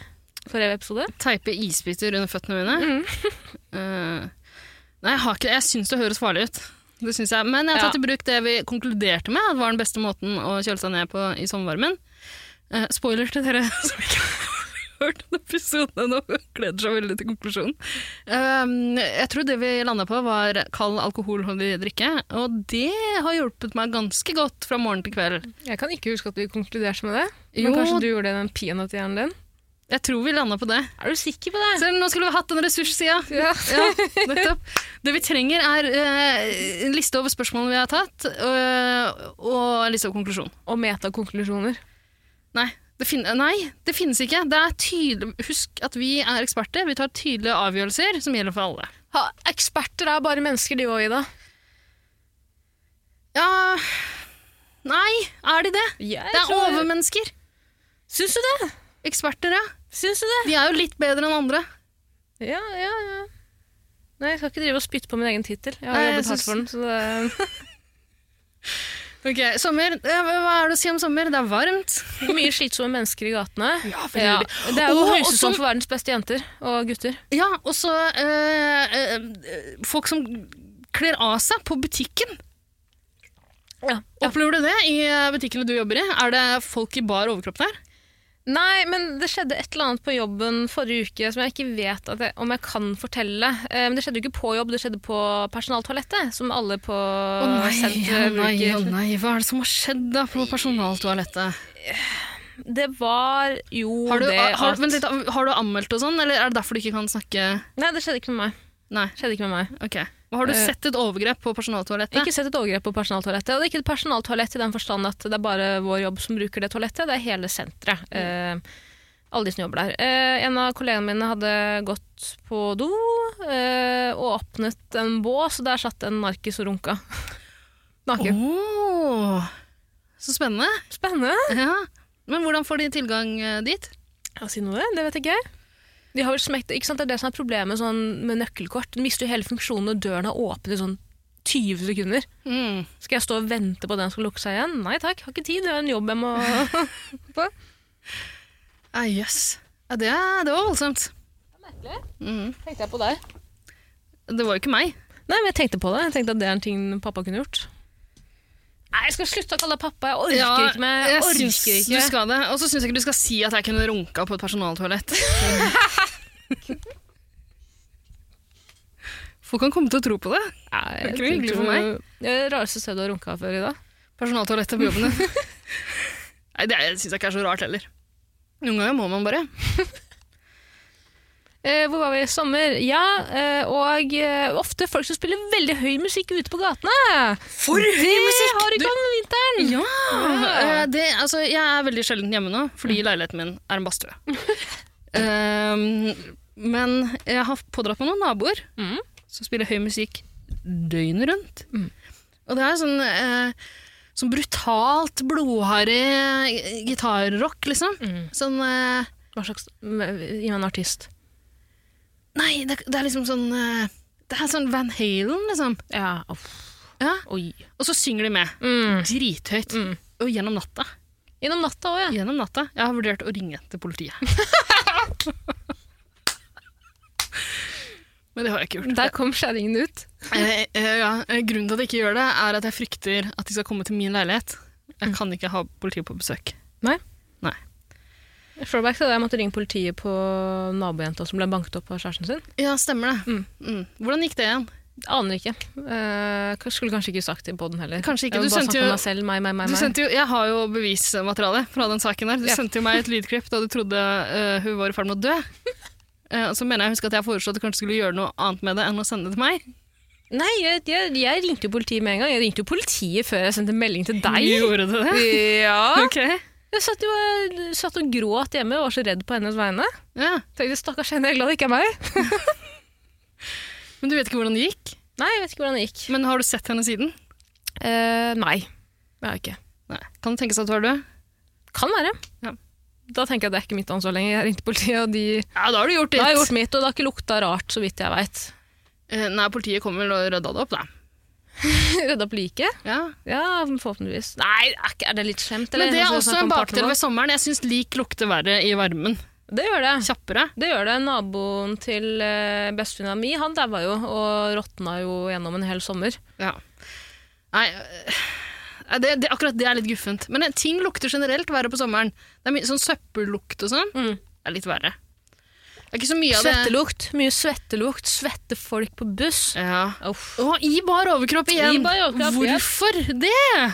A: Forrige episode?
B: Teipe isbiter under føttene mine.
A: Mm.
B: Eh, nei, jeg, har ikke, jeg syns det høres farlig ut. Det synes jeg. Men jeg har
A: Ja.
B: tatt i bruk det vi konkluderte med at var den beste måten å kjøle seg ned på i sommervarmen. Eh, spoiler til dere som ikke har hørt den episoden ennå. Gleder seg veldig til konklusjonen. Eh, jeg tror det vi landa på, var kald alkoholholdig drikke. Og det har hjulpet meg ganske godt fra morgen til kveld.
A: Jeg kan ikke huske at vi konkluderte med det.
B: Jo.
A: Men kanskje du gjorde det i den peanøtthjernen din?
B: Jeg tror vi landa på det.
A: Er du sikker på det?
B: Selv om nå skulle vi hatt den ressurssida.
A: Ja.
B: Ja, nettopp. Det vi trenger er eh, en liste over spørsmålene vi har tatt, eh, og en liste over konklusjon.
A: Og metakonklusjoner.
B: Nei det, fin nei, det finnes ikke. Det er tydelig, husk at vi er eksperter. Vi tar tydelige avgjørelser som gjelder for alle.
A: Ha, eksperter er bare mennesker, de òg, Ida.
B: Ja Nei, er de det?
A: Jeg
B: Det er overmennesker.
A: Syns du det?
B: Eksperter, ja.
A: Syns du det?
B: De er jo litt bedre enn andre.
A: Ja, ja, ja. Nei, jeg skal ikke drive og spytte på min egen tittel. Jeg har
B: Nei, jeg
A: jobbet hardt
B: syns-
A: for den. så det...
B: Ok, Sommer. eh, Hva er det å si om sommer? Det er varmt.
A: Mye slitsomme mennesker i gatene.
B: Ja,
A: Ja, det er jo
B: Åh, og
A: høysesong
B: som-
A: for verdens beste jenter og gutter.
B: Ja, og så eh, eh, folk som kler av seg på butikken. Opplever du det i eh, butikkene du jobber i? Er det folk i bar overkropp der?
A: Nei, men det skjedde et eller annet på jobben forrige uke som jeg ikke vet at jeg, om jeg kan fortelle. Eh, Men det skjedde jo ikke på jobb, det skjedde på personaltoalettet, som alle på
B: eh,
A: senteret bruker.
B: nei, hva er det som har skjedd da på personaltoalettet?
A: Det var jo
B: Har du,
A: det
B: har,
A: at
B: vent litt, har du anmeldt og sånn, eller er det derfor du ikke kan snakke
A: Nei, det skjedde ikke med meg.
B: Nei,
A: Skjedde ikke med meg.
B: ok. Har du
A: Eh,
B: sett et overgrep på
A: Jeg har
B: personaltoalettet?
A: ikke sett et overgrep på personaltoalettet. Og det er ikke et personaltoalett i den forstand at det er bare vår jobb som bruker det toalettet, det er hele senteret. Eh, alle de som jobber der. Eh, en av kollegene mine hadde gått på do eh, og åpnet en bås, og der satt en narkis og runka.
B: Åh,
A: Naken.
B: så spennende.
A: Spennende.
B: Ja. Men hvordan får de tilgang eh, dit?
A: Ja, si noe, det vet ikke jeg. De har vel smekt, ikke sant? Det er det som er problemet sånn, med nøkkelkort. Den mister jo hele funksjonen når døren er åpen i sånn 20 sekunder.
B: Mm.
A: Skal jeg stå og vente på at den skal lukke seg igjen? Nei takk, har ikke tid. Det er en jobb jeg må
B: Ah, yes. ja, det, er- det var voldsomt. Mm.
A: Tenkte jeg på deg.
B: Det var jo ikke meg.
A: Nei, men jeg tenkte på det. Jeg tenkte at det er en ting pappa kunne gjort. Nei, jeg skal slutte å kalle deg pappa. Jeg orker
B: Ja,
A: ikke mer. Jeg orker
B: syns
A: ikke.
B: Du skal det. Og så syns jeg ikke du skal si at jeg kunne runka på et personaltoalett. Folk kan komme til å tro på det.
A: Nei, jeg
B: Det er ikke hyggelig for meg.
A: tror- Det er det rareste stedet du har runka før i dag.
B: Personaltoalettet på jobben din. Nei, det syns jeg ikke er så rart heller. Noen ganger må man bare.
A: Eh, hvor var vi? Sommer. Ja, eh, og eh, ofte folk som spiller veldig høy musikk ute på gatene.
B: For
A: Det har du ikke om vinteren.
B: Ja! eh, Det, altså, jeg er veldig sjelden hjemme nå, fordi leiligheten min er en badstue. um, men jeg har pådratt meg noen naboer
A: Mhm.
B: som spiller høy musikk døgnet rundt.
A: Mhm.
B: Og det er sånn, eh, sånn brutalt blodharry gitarrock, liksom. Sånn eh,
A: Mm. Hva slags Gi meg en artist.
B: Nei, det, det er liksom sånn eh, Det er sånn Van Halen, liksom.
A: Ja, uff.
B: Ja.
A: Oi.
B: Og så synger de med.
A: Mm.
B: Drithøyt.
A: Mm.
B: Og gjennom natta.
A: Gjennom natta òg, ja.
B: Gjennom natta. Jeg har vurdert å ringe til politiet. Men det har jeg ikke gjort.
A: Der kom skjæringen ut.
B: Eh, eh, ja. eh, Grunnen til at jeg ikke gjør det, er at jeg frykter at de skal komme til min leilighet. Jeg kan ikke ha politiet på besøk.
A: Throwback til da jeg måtte ringe politiet på nabojenta som ble banket opp av kjæresten sin.
B: Ja, stemmer det.
A: Mm.
B: Mm. Hvordan gikk det igjen?
A: Aner ikke. Eh, k- skulle kanskje ikke sagt det på den heller.
B: Kanskje ikke.
A: Jeg vil
B: Du
A: bare
B: sendte
A: snakke om
B: jo-
A: meg selv, meg, meg, meg.
B: Du
A: meg.
B: sendte jo, jeg har jo bevismateriale fra den saken der. Du
A: Ja.
B: sendte jo meg et lydklipp da du trodde eh, hun var i ferd med å dø. Eh, så mener jeg husker at jeg foreslo at du kanskje skulle gjøre noe annet med det enn å sende det til meg.
A: Nei, jeg, jeg, jeg ringte jo politiet med en gang. Jeg ringte jo politiet før jeg sendte melding til deg.
B: Gjorde du det?
A: Ja.
B: Ok.
A: Jeg satt, jo, jeg satt og gråt hjemme og var så redd på hennes vegne.
B: Ja.
A: Tenkte stakkars henne, jeg er glad det ikke er meg.
B: Men du vet ikke hvordan det gikk?
A: Nei, jeg vet ikke hvordan det gikk.
B: Men har du sett henne siden?
A: Eh, nei, det har jeg ikke.
B: Nei. Kan det tenkes at hun er død?
A: Kan være.
B: Ja.
A: Da tenker jeg at det er ikke mitt ansvar lenger. Jeg ringte politiet, og de
B: Ja, da har du gjort
A: Da
B: ditt.
A: har jeg gjort mitt, og det har ikke lukta rart, så vidt jeg veit.
B: Eh, nei, politiet kommer vel og rydda det opp, da.
A: Redda opp liket?
B: Ja.
A: Ja, forhåpentligvis. Nei, er ikke- er det litt slemt?
B: Men det er
A: Sånn
B: også
A: som
B: en
A: partner
B: bakdel
A: vår.
B: ved sommeren. Jeg syns lik lukter verre i varmen.
A: Det gjør det.
B: Kjappere.
A: Det gjør det. Naboen til eh, bestevenninna mi, han daua jo og råtna jo gjennom en hel sommer.
B: Ja. Nei, øh, nei, det, det, akkurat det er litt guffent. Men eh, ting lukter generelt verre på sommeren. Det er mye sånn søppellukt og sånn.
A: Mm.
B: Det er litt verre. Det er ikke så mye av det.
A: Svettelukt. Mye svettelukt. Svette folk på buss.
B: Ja.
A: Uff.
B: Å, i bar overkropp
A: I
B: igjen!
A: bar overkropp, ja.
B: Hvorfor det?
A: Ja,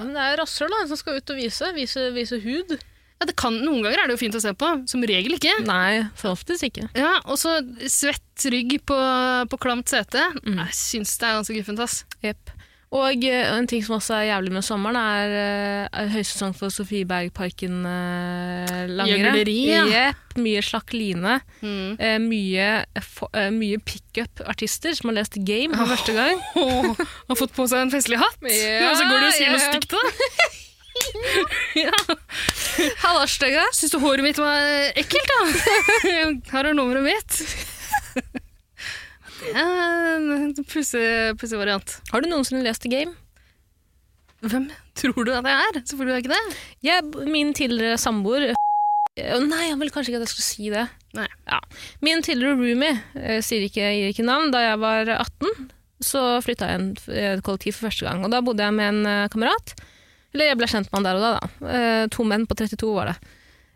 A: men det er rasshøl da, som skal ut og vise. Vise, vise hud.
B: Ja, det kan, noen ganger er det jo fint å se på. Som regel ikke.
A: Nei, for oftest ikke.
B: Ja, Og så svett rygg på, på klamt sete.
A: Mm.
B: Jeg syns det er ganske guffent, ass.
A: Jepp. Og eh, en ting som også er jævlig med sommeren, er, eh, er høysesong for Sofiebergparken eh, langrenn.
B: Gjøgleri, ja.
A: Jepp. Mye slakk line.
B: Mm.
A: Eh, mye fo- eh, mye pickup-artister som har lest Game for første gang.
B: Åh, har fått på seg en festlig hatt!
A: Ja,
B: og så går du og sier noe
A: ja.
B: stygt til det. ja.
A: Halla, stygge!
B: Syns du håret mitt var ekkelt, da? Her er nummeret mitt. Det er en pussig pussig variant.
A: Har du noensinne lest Game?
B: Hvem tror du at jeg er? Selvfølgelig er jeg ikke det.
A: Jeg, min tidligere samboer eh, Å, Nei, han ville kanskje ikke at jeg skulle si det.
B: Nei.
A: Ja. Min tidligere roomie, eh, sier ikke, gir ikke navn, da jeg var 18, så flytta jeg inn i et kollektiv for første gang. Og da bodde jeg med en eh, kamerat. Eller jeg ble kjent med han der og da, da. Eh, to menn på 32 var det.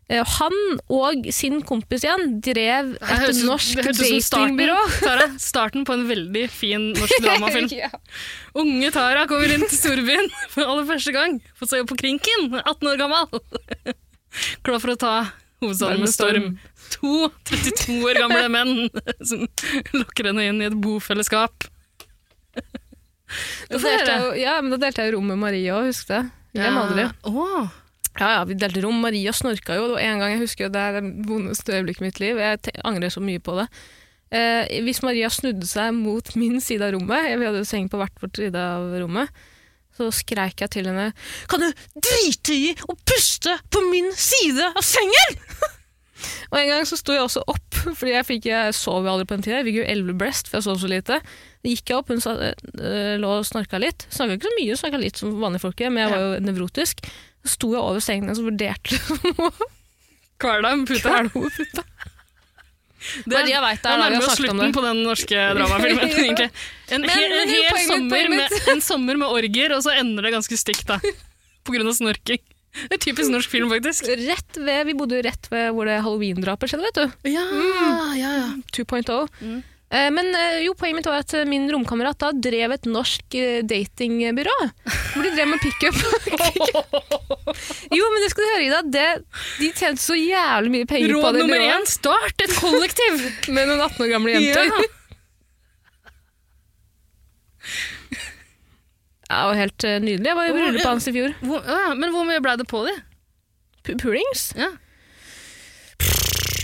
A: Eh, og han og sin kompis igjen drev
B: Det høres
A: et
B: ut-
A: norsk
B: det høres ut som
A: datingbyrå.
B: starten- Tara, starten på en veldig fin norsk dramafilm.
A: Ja.
B: Unge Tara kommer inn til storbyen for aller første gang. Får se på Krinken, 18 år gammel. Klar for å ta hovedstaden med storm. To 32 år gamle menn som lokker henne inn i et bofellesskap.
A: Da
B: Få
A: delte jeg,
B: høre.
A: jo- ja, men da delte jeg jo rom med Marie òg, husk det. Glem aldri.
B: Åh.
A: Ja, ja, vi delte rom. Maria snorka jo. Det var en gang jeg husker jo, det er det vondeste øyeblikket i mitt liv. Jeg te- angrer så mye på det. Eh, hvis Maria snudde seg mot min side av rommet, vi hadde jo seng på hvert vårt side av rommet, så skreik jeg til henne Kan du drite i å puste på min side av sengen?! Og en gang så sto jeg også opp, fordi jeg, fikk, jeg sov jo aldri på den tida. Jeg fikk jo elvebreast, for jeg sov så lite. Da gikk jeg opp, hun sa, øh, lå og snorka litt. Snakka ikke så mye, snakka litt som vanlige folk, men jeg var jo nevrotisk. Så sto jeg over sengen hennes og vurderte om å
B: Kvala med puta.
A: kvele henne.
B: Det
A: Maria vet det,
B: Da
A: da, vi
B: nærmer
A: har
B: vi
A: snakket
B: oss
A: om
B: slutten
A: det.
B: på den norske dramafilmen, egentlig. En,
A: Men-
B: hel, en,
A: men
B: hel
A: poenget-
B: sommer
A: poenget mitt-
B: med, en sommer med orger, og så ender det ganske stygt, da. På grunn av snorking. Det er typisk norsk film, faktisk.
A: Rett ved, vi bodde jo rett ved hvor det halloween-drapet skjedde, vet du.
B: Ja,
A: Mm.
B: ja, ja.
A: 2.0.
B: Mm.
A: Eh, Men eh, jo, poenget mitt var at eh, min romkamerat da drev et norsk eh, datingbyrå. Hvor de drev med pickup. jo, men det skal du høre, Ida. Det, de tjente så jævlig mye penger på
B: Råd
A: det
B: nummer
A: byrået.
B: én, start et kollektiv!
A: Med noen 18 år gamle jenter.
B: Ja.
A: Ja, det var helt eh, nydelig. Jeg var i
B: Hvor-
A: bryllupet hans i fjor.
B: Hvor, å ja, men hvor mye ble det på de?
A: P- Poolings?
B: Ja.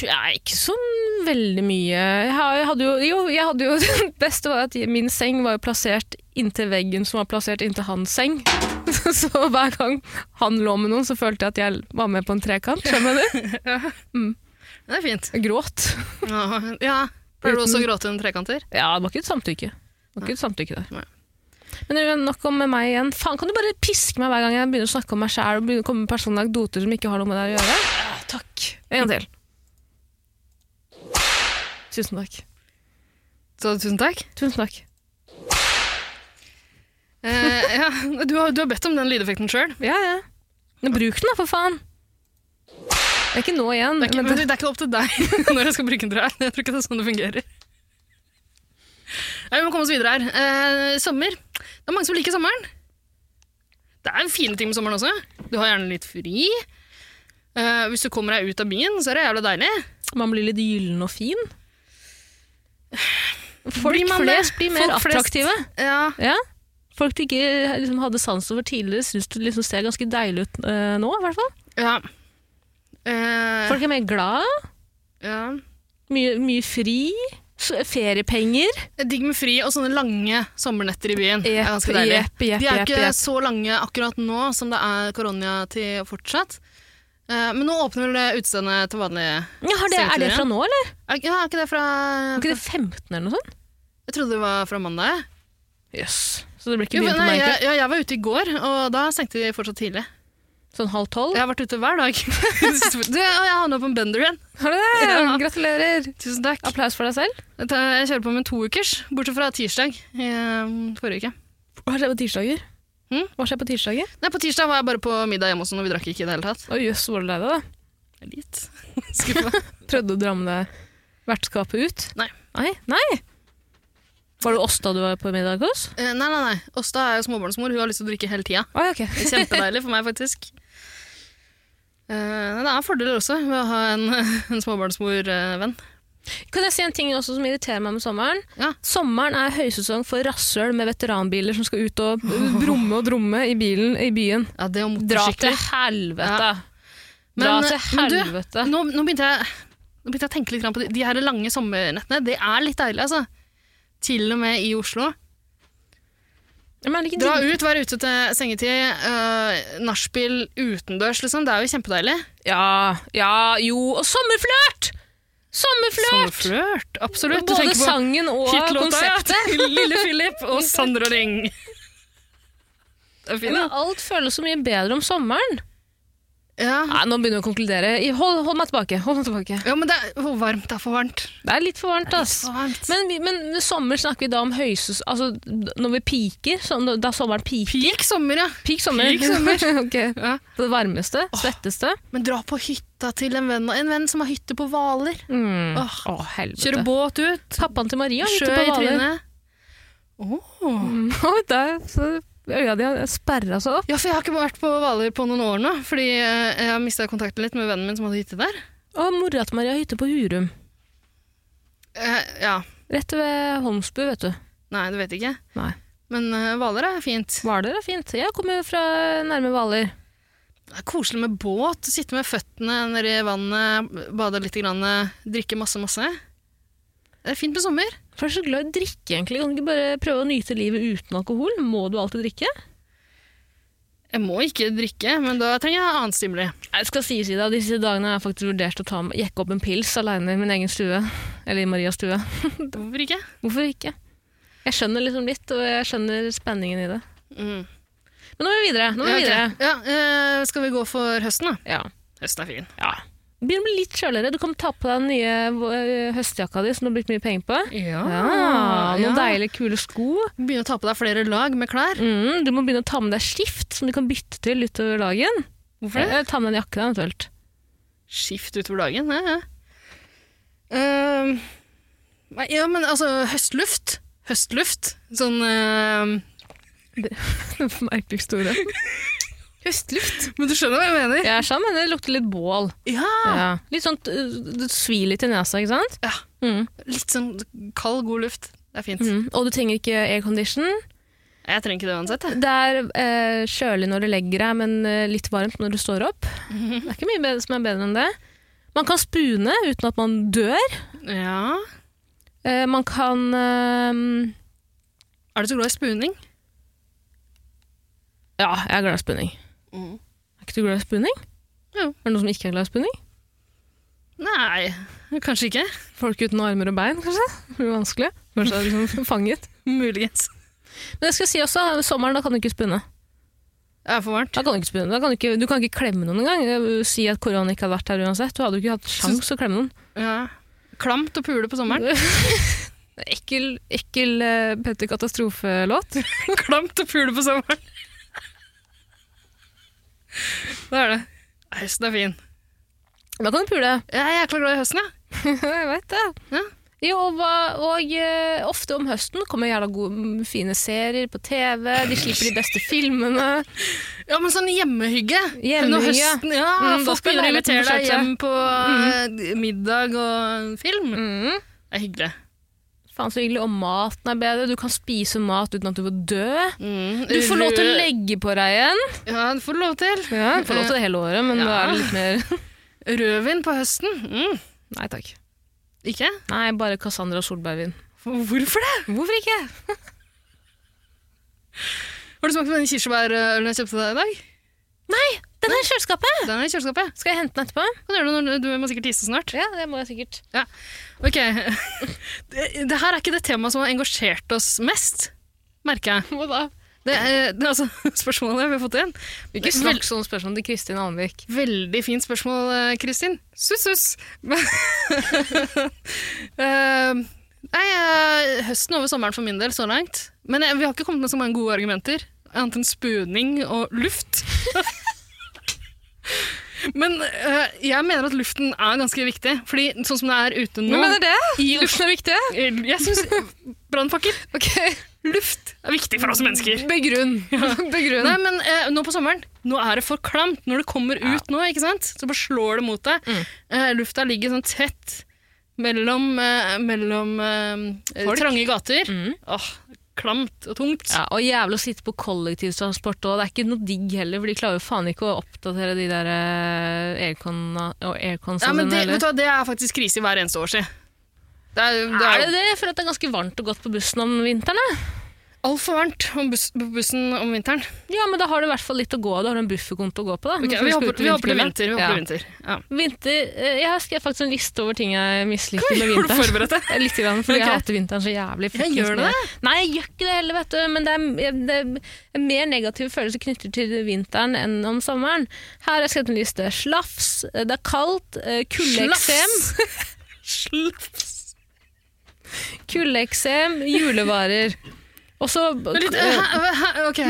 A: Nei, ikke så veldig mye. Jeg har- jeg hadde jo, jo, jeg hadde jo det beste var at min seng var jo plassert inntil veggen som var plassert inntil hans seng. Så hver gang han lå med noen, så følte jeg at jeg var med på en trekant. Skjønner du?
B: Det er fint.
A: Jeg gråt.
B: Ja. Pleier du
A: Uten-
B: også å gråte under trekanter?
A: Ja, det var ikke et samtykke. Det var ikke et samtykke der.
B: Nei.
A: Men uansett, nok om meg igjen. Faen, kan du bare piske meg hver gang jeg begynner å snakke om meg sjæl og begynner å komme med personlige anekdoter som ikke har noe med deg å gjøre? Takk. En gang til. Tusen takk.
B: Så tusen takk.
A: Tusen takk.
B: Eh, ja. du, har, du har bedt om den lydeffekten sjøl.
A: Ja, ja. Men bruk den da, for faen. Det er ikke nå igjen.
B: Det, er ikke-
A: men
B: men
A: det,
B: det er ikke opp til deg når jeg skal bruke den, tror jeg. Jeg tror ikke det er sånn det fungerer. Nei, vi må komme oss videre her. Eh, sommer. Det er mange som liker sommeren. Det er fine ting med sommeren også. Du har gjerne litt fri. Eh, hvis du kommer deg ut av byen, så er det jævla deilig.
A: man blir litt gyllen og fin. Folk
B: Blir man det?
A: flest blir mer
B: Folk flest-
A: attraktive.
B: Ja,
A: Ja. Folk du ikke liksom, hadde sans over tidligere, syns du liksom ser ganske deilig ut eh, nå. i hvert fall.
B: ja. Eh,
A: Folk er mer glad,
B: ja.
A: mye, mye fri, s- feriepenger.
B: Det er Digg med fri og sånne lange sommernetter i byen. Det er ganske deilig.
A: jepp, jepp,
B: De er
A: jepp,
B: ikke
A: jepp.
B: så lange akkurat nå som det er koronatid fortsatt. Eh, Men nå åpner vel det utestedet til vanlig
A: ja, har det, Er det
B: Stengte
A: fra nå, eller?
B: Er- Ja, er ikke det fra
A: Er ikke det 15 eller noe sånt?
B: Jeg trodde det var fra mandag.
A: Yes. Så det blir ikke
B: Jo,
A: begynt på
B: nei,
A: meg?
B: jeg,
A: egentlig.
B: ja, jeg var ute i går, og da stengte de fortsatt tidlig.
A: Sånn halv tolv?
B: Jeg har vært ute hver dag. du, og jeg havna på en bender igjen.
A: Har du det?
B: Ja.
A: Gratulerer!
B: Tusen takk.
A: Applaus for deg selv.
B: Dette- Jeg kjører på med to ukers, bortsett fra tirsdag eh, forrige uke.
A: Hva skjer på tirsdager?
B: Hm?
A: Hva skjer på tirsdager?
B: Nei, På tirsdag var jeg bare på middag hjemme hos noen, og vi drakk ikke i det hele tatt.
A: Å jøss, hvor var det deg,
B: Jeg er Litt skuffa.
A: da? Prøvde å dra med deg vertskapet ut?
B: Nei.
A: Nei? Nei. Var det Åsta du var på middag hos?
B: Eh, Nei, nei, nei. Åsta er jo småbarnsmor, hun har lyst til å drikke hele tida.
A: Oi, ok.
B: Det er Kjempedeilig for meg, faktisk. Eh, nei, det er fordeler også ved å ha en, en småbarnsmor-venn.
A: Kan jeg si en ting også som irriterer meg med sommeren?
B: Ja.
A: Sommeren er høysesong for rasshøl med veteranbiler som skal ut og brumme og drumme i bilen i byen.
B: Ja, det om
A: Dra
B: motorsykler.
A: til helvete! Dra
B: Men,
A: til
B: men du,
A: helvete.
B: Nå, nå, begynte jeg, nå begynte jeg å tenke litt grann på de, de her lange sommernettene. Det er litt deilig, altså. Til og med i Oslo.
A: Men er det ikke
B: Dra
A: digg-
B: ut, være ute til sengetid. Uh, nachspiel utendørs, liksom. Det er jo kjempedeilig.
A: Ja, ja, jo. Og sommerflørt! Sommerflørt!
B: Sommerflørt, absolutt. Du
A: Både
B: tenker på
A: sangen og
B: hitlåta ja,
A: konseptet.
B: til Lille Philip og Sandra Ring. Det er fint,
A: Men
B: da.
A: alt føles så mye bedre om sommeren.
B: Ja.
A: Nei, nå begynner vi å konkludere. I- Hold, hold meg tilbake. hold meg tilbake.
B: Ja, men det er for varmt. Det er for varmt.
A: Det er litt for varmt, ass.
B: For varmt.
A: Men, vi- men sommer snakker vi da om høyses... Altså, d- når vi piker, så, da sommeren piker.
B: Peak sommer, ja.
A: Peak sommer.
B: Peak sommer.
A: Ok.
B: ja.
A: Det varmeste, svetteste.
B: Men dra på hytta til en venn, en venn som har hytte på Hvaler.
A: Mm. Å,
B: Åh.
A: helvete.
B: Kjøre båt ut.
A: Pappaen til Maria
B: Sjø
A: hytte på
B: i
A: Hvaler.
B: trynet. Åh.
A: Mm, og der, så Øya de har sperra seg opp.
B: Ja, for jeg har ikke vært på Hvaler på noen år nå, fordi eh, jeg har mista kontakten litt med vennen min som hadde hytte der.
A: Og mora til Maria har hytte på Hurum.
B: Eh, ja.
A: Rett ved Holmsbu, vet du.
B: Nei, det vet jeg ikke.
A: Nei.
B: Men eh, Hvaler er fint.
A: Hvaler er fint. Jeg kommer jo fra nærme Hvaler.
B: Det er koselig med båt. Sitte med føttene nedi vannet, bade litt, grann, drikke masse, masse. Det er fint med sommer.
A: For jeg er så glad i å drikke, egentlig. Kan du ikke bare prøve å nyte livet uten alkohol? Må du alltid drikke?
B: Jeg må ikke drikke, men da trenger jeg annen stimuli.
A: Jeg skal sies i det, at disse dagene har jeg faktisk vurdert å ta, jekke opp en pils alene i min egen stue. Eller i Marias stue.
B: Hvorfor ikke?
A: Hvorfor ikke? Jeg skjønner liksom litt, og jeg skjønner spenningen i det.
B: Mm.
A: Men nå må vi videre. Nå må vi videre.
B: Ja, eh, skal vi gå for høsten, da?
A: Ja.
B: Høsten er fin.
A: ja. Begynner å bli litt kjøligere. Du kan ta på deg den nye øh, høstjakka di som du har brukt mye penger på.
B: Ja,
A: Ah, Ja, Noen deilige, kule sko.
B: Begynne å ta på deg flere lag med klær.
A: Mm, du må begynne å ta med deg skift som du kan bytte til utover dagen.
B: Hvorfor det?
A: Eller ta med deg en jakke, da, eventuelt.
B: Skift utover dagen. Ja, ja. Ehm, nei, ja, men altså, høstluft. Høstluft. Sånn ehm,
A: Merkeligste ordet.
B: Høstluft? Men du skjønner hva jeg mener?
A: Jeg er sammen, men det lukter litt bål.
B: Ja.
A: Ja. Litt sånn, uh, Det svir litt i nesa, ikke sant?
B: Ah. Ja.
A: Mm.
B: Litt sånn kald, god luft. Det er fint.
A: Mm. Og du trenger ikke aircondition.
B: Jeg trenger ikke det uansett. Jeg.
A: Det er eh, kjølig når du legger deg, men eh, litt varmt når du står opp. Det er ikke mye bedre, som er bedre enn det. Man kan spune uten at man dør.
B: Ja.
A: Eh, man kan eh,
B: Er du så glad i spuning?
A: Ja, jeg er glad
B: Mm.
A: i spunning. Er ikke du glad i spunning?
B: Jo.
A: Er det noen som ikke er glad i spunning?
B: Nei, kanskje ikke.
A: Folk uten armer og bein, kanskje? Det blir vanskelig. Kanskje det er liksom fanget.
B: Muligens.
A: Men jeg skal si også, sommeren, da kan du ikke spunne.
B: Det er for varmt.
A: Da kan du ikke spunne. Da kan du, ikke, du kan ikke klemme noen engang. Si at korona ikke hadde vært her uansett. Du hadde jo ikke hatt sjans å klemme noen.
B: Ja. Klamt å pule på sommeren.
A: Ekkel, ekkel eh, Petter Katastrofe-låt.
B: Klamt å pule på sommeren. Det er det. Nei, Høsten er fin.
A: Da kan du pule.
B: Jeg er jækla glad i høsten, jeg.
A: jeg veit det.
B: Ja.
A: Jo, og, hva- og eh, ofte om høsten kommer jævla gode, mm, fine serier på TV. De slipper de beste filmene.
B: Ja. men sånn hjemmehygge.
A: Hjemmehygge.
B: Når høsten, ja,
A: Mm, da
B: Folk
A: skal
B: begynner å
A: leiligheten
B: invitere deg
A: forsøke seg.
B: hjem på eh, middag og film.
A: Mm.
B: Det er hyggelig.
A: Faen så hyggelig. Og maten er bedre. Du kan spise mat uten at du får dø.
B: Mm.
A: Du får lov til å
B: Rød-
A: legge på deg igjen.
B: Ja, du får lov til.
A: Ja, du får lov til det hele året, men
B: Ja.
A: da er det litt mer
B: Rødvin på høsten? Mm.
A: Nei takk.
B: Ikke?
A: Nei, bare Cassandra Solbergvin.
B: Hvorfor det?
A: Hvorfor ikke?
B: Har du smakt på den kirsebærølen jeg kjøpte deg i dag?
A: Den er i kjøleskapet!
B: Den er i kjøleskapet.
A: Skal jeg hente den etterpå?
B: Kan du gjøre det når du, du må sikkert tisse snart.
A: Ja, det må jeg sikkert.
B: Ok. Det, det her er ikke det temaet som har engasjert oss mest, merker jeg.
A: Hva da?
B: Det, er- det er altså spørsmålet vi har fått inn.
A: Ikke
B: Vel-
A: snakk sånne spørsmål til Kristin Almvik.
B: Veldig fint spørsmål, eh, Kristin. Sus, sus. Men- Eh, Nei, eh, høsten over sommeren for min del, så langt. Men eh, vi har ikke kommet med så mange gode argumenter. Annet enn spuning og luft. Men eh, jeg mener at luften er ganske viktig. Fordi sånn som det er ute nå
A: det? Luften er viktig?
B: Jeg syns brannpakker
A: Ok,
B: Luft er viktig for oss mennesker.
A: begrunn. begrunn.
B: Nei, men eh, nå på sommeren, nå er det for klamt. Når det kommer ut nå, ikke sant? så bare slår det mot deg.
A: Mm.
B: Eh, lufta ligger sånn tett mellom, eh, mellom eh,
A: Folk.
B: trange gater.
A: Mm.
B: Åh, klamt og tungt.
A: Ja, og jævlig å sitte på kollektivtransport, og det er ikke noe digg heller, for de klarer jo faen ikke å oppdatere de der eh, aircon- og aircons.
B: Ja,
A: og
B: men
A: sånn
B: det,
A: heller.
B: vet du hva, det er faktisk krise hver eneste år siden. Det er, det
A: Er
B: er
A: det det? Jeg føler at det er ganske varmt og godt på bussen om vinteren. jeg.
B: altfor varmt om bus på bussen om vinteren.
A: Ja, men da har du i hvert fall litt å gå av. Du har en bufferkonto å gå på. da.
B: Ok,
A: Nå Mm, skal
B: vi
A: skal
B: håper
A: ut i
B: vi håper det er vinter.
A: vinterkulda.
B: Vi håper det er vinter. Ja.
A: Ja. Vinter, eh, jeg har skrevet faktisk en liste over ting jeg misliker med
B: Har du
A: vinteren.
B: forberedt deg?
A: Eh, Litt, grann, fordi
B: Ok.
A: jeg hater vinteren så jævlig.
B: Jeg gjør
A: fuckings mye. Nei, jeg gjør ikke det heller, vet du. Men det er, det er mer negative følelser knyttet til vinteren enn om sommeren. Her har jeg skrevet en liste. Slafs, eh, det er kaldt, eh, kuldeeksem,
B: Slafs.
A: kuldeeksem, julevarer. Og så
B: Men litt,
A: eh,
B: hæ, hæ, ok.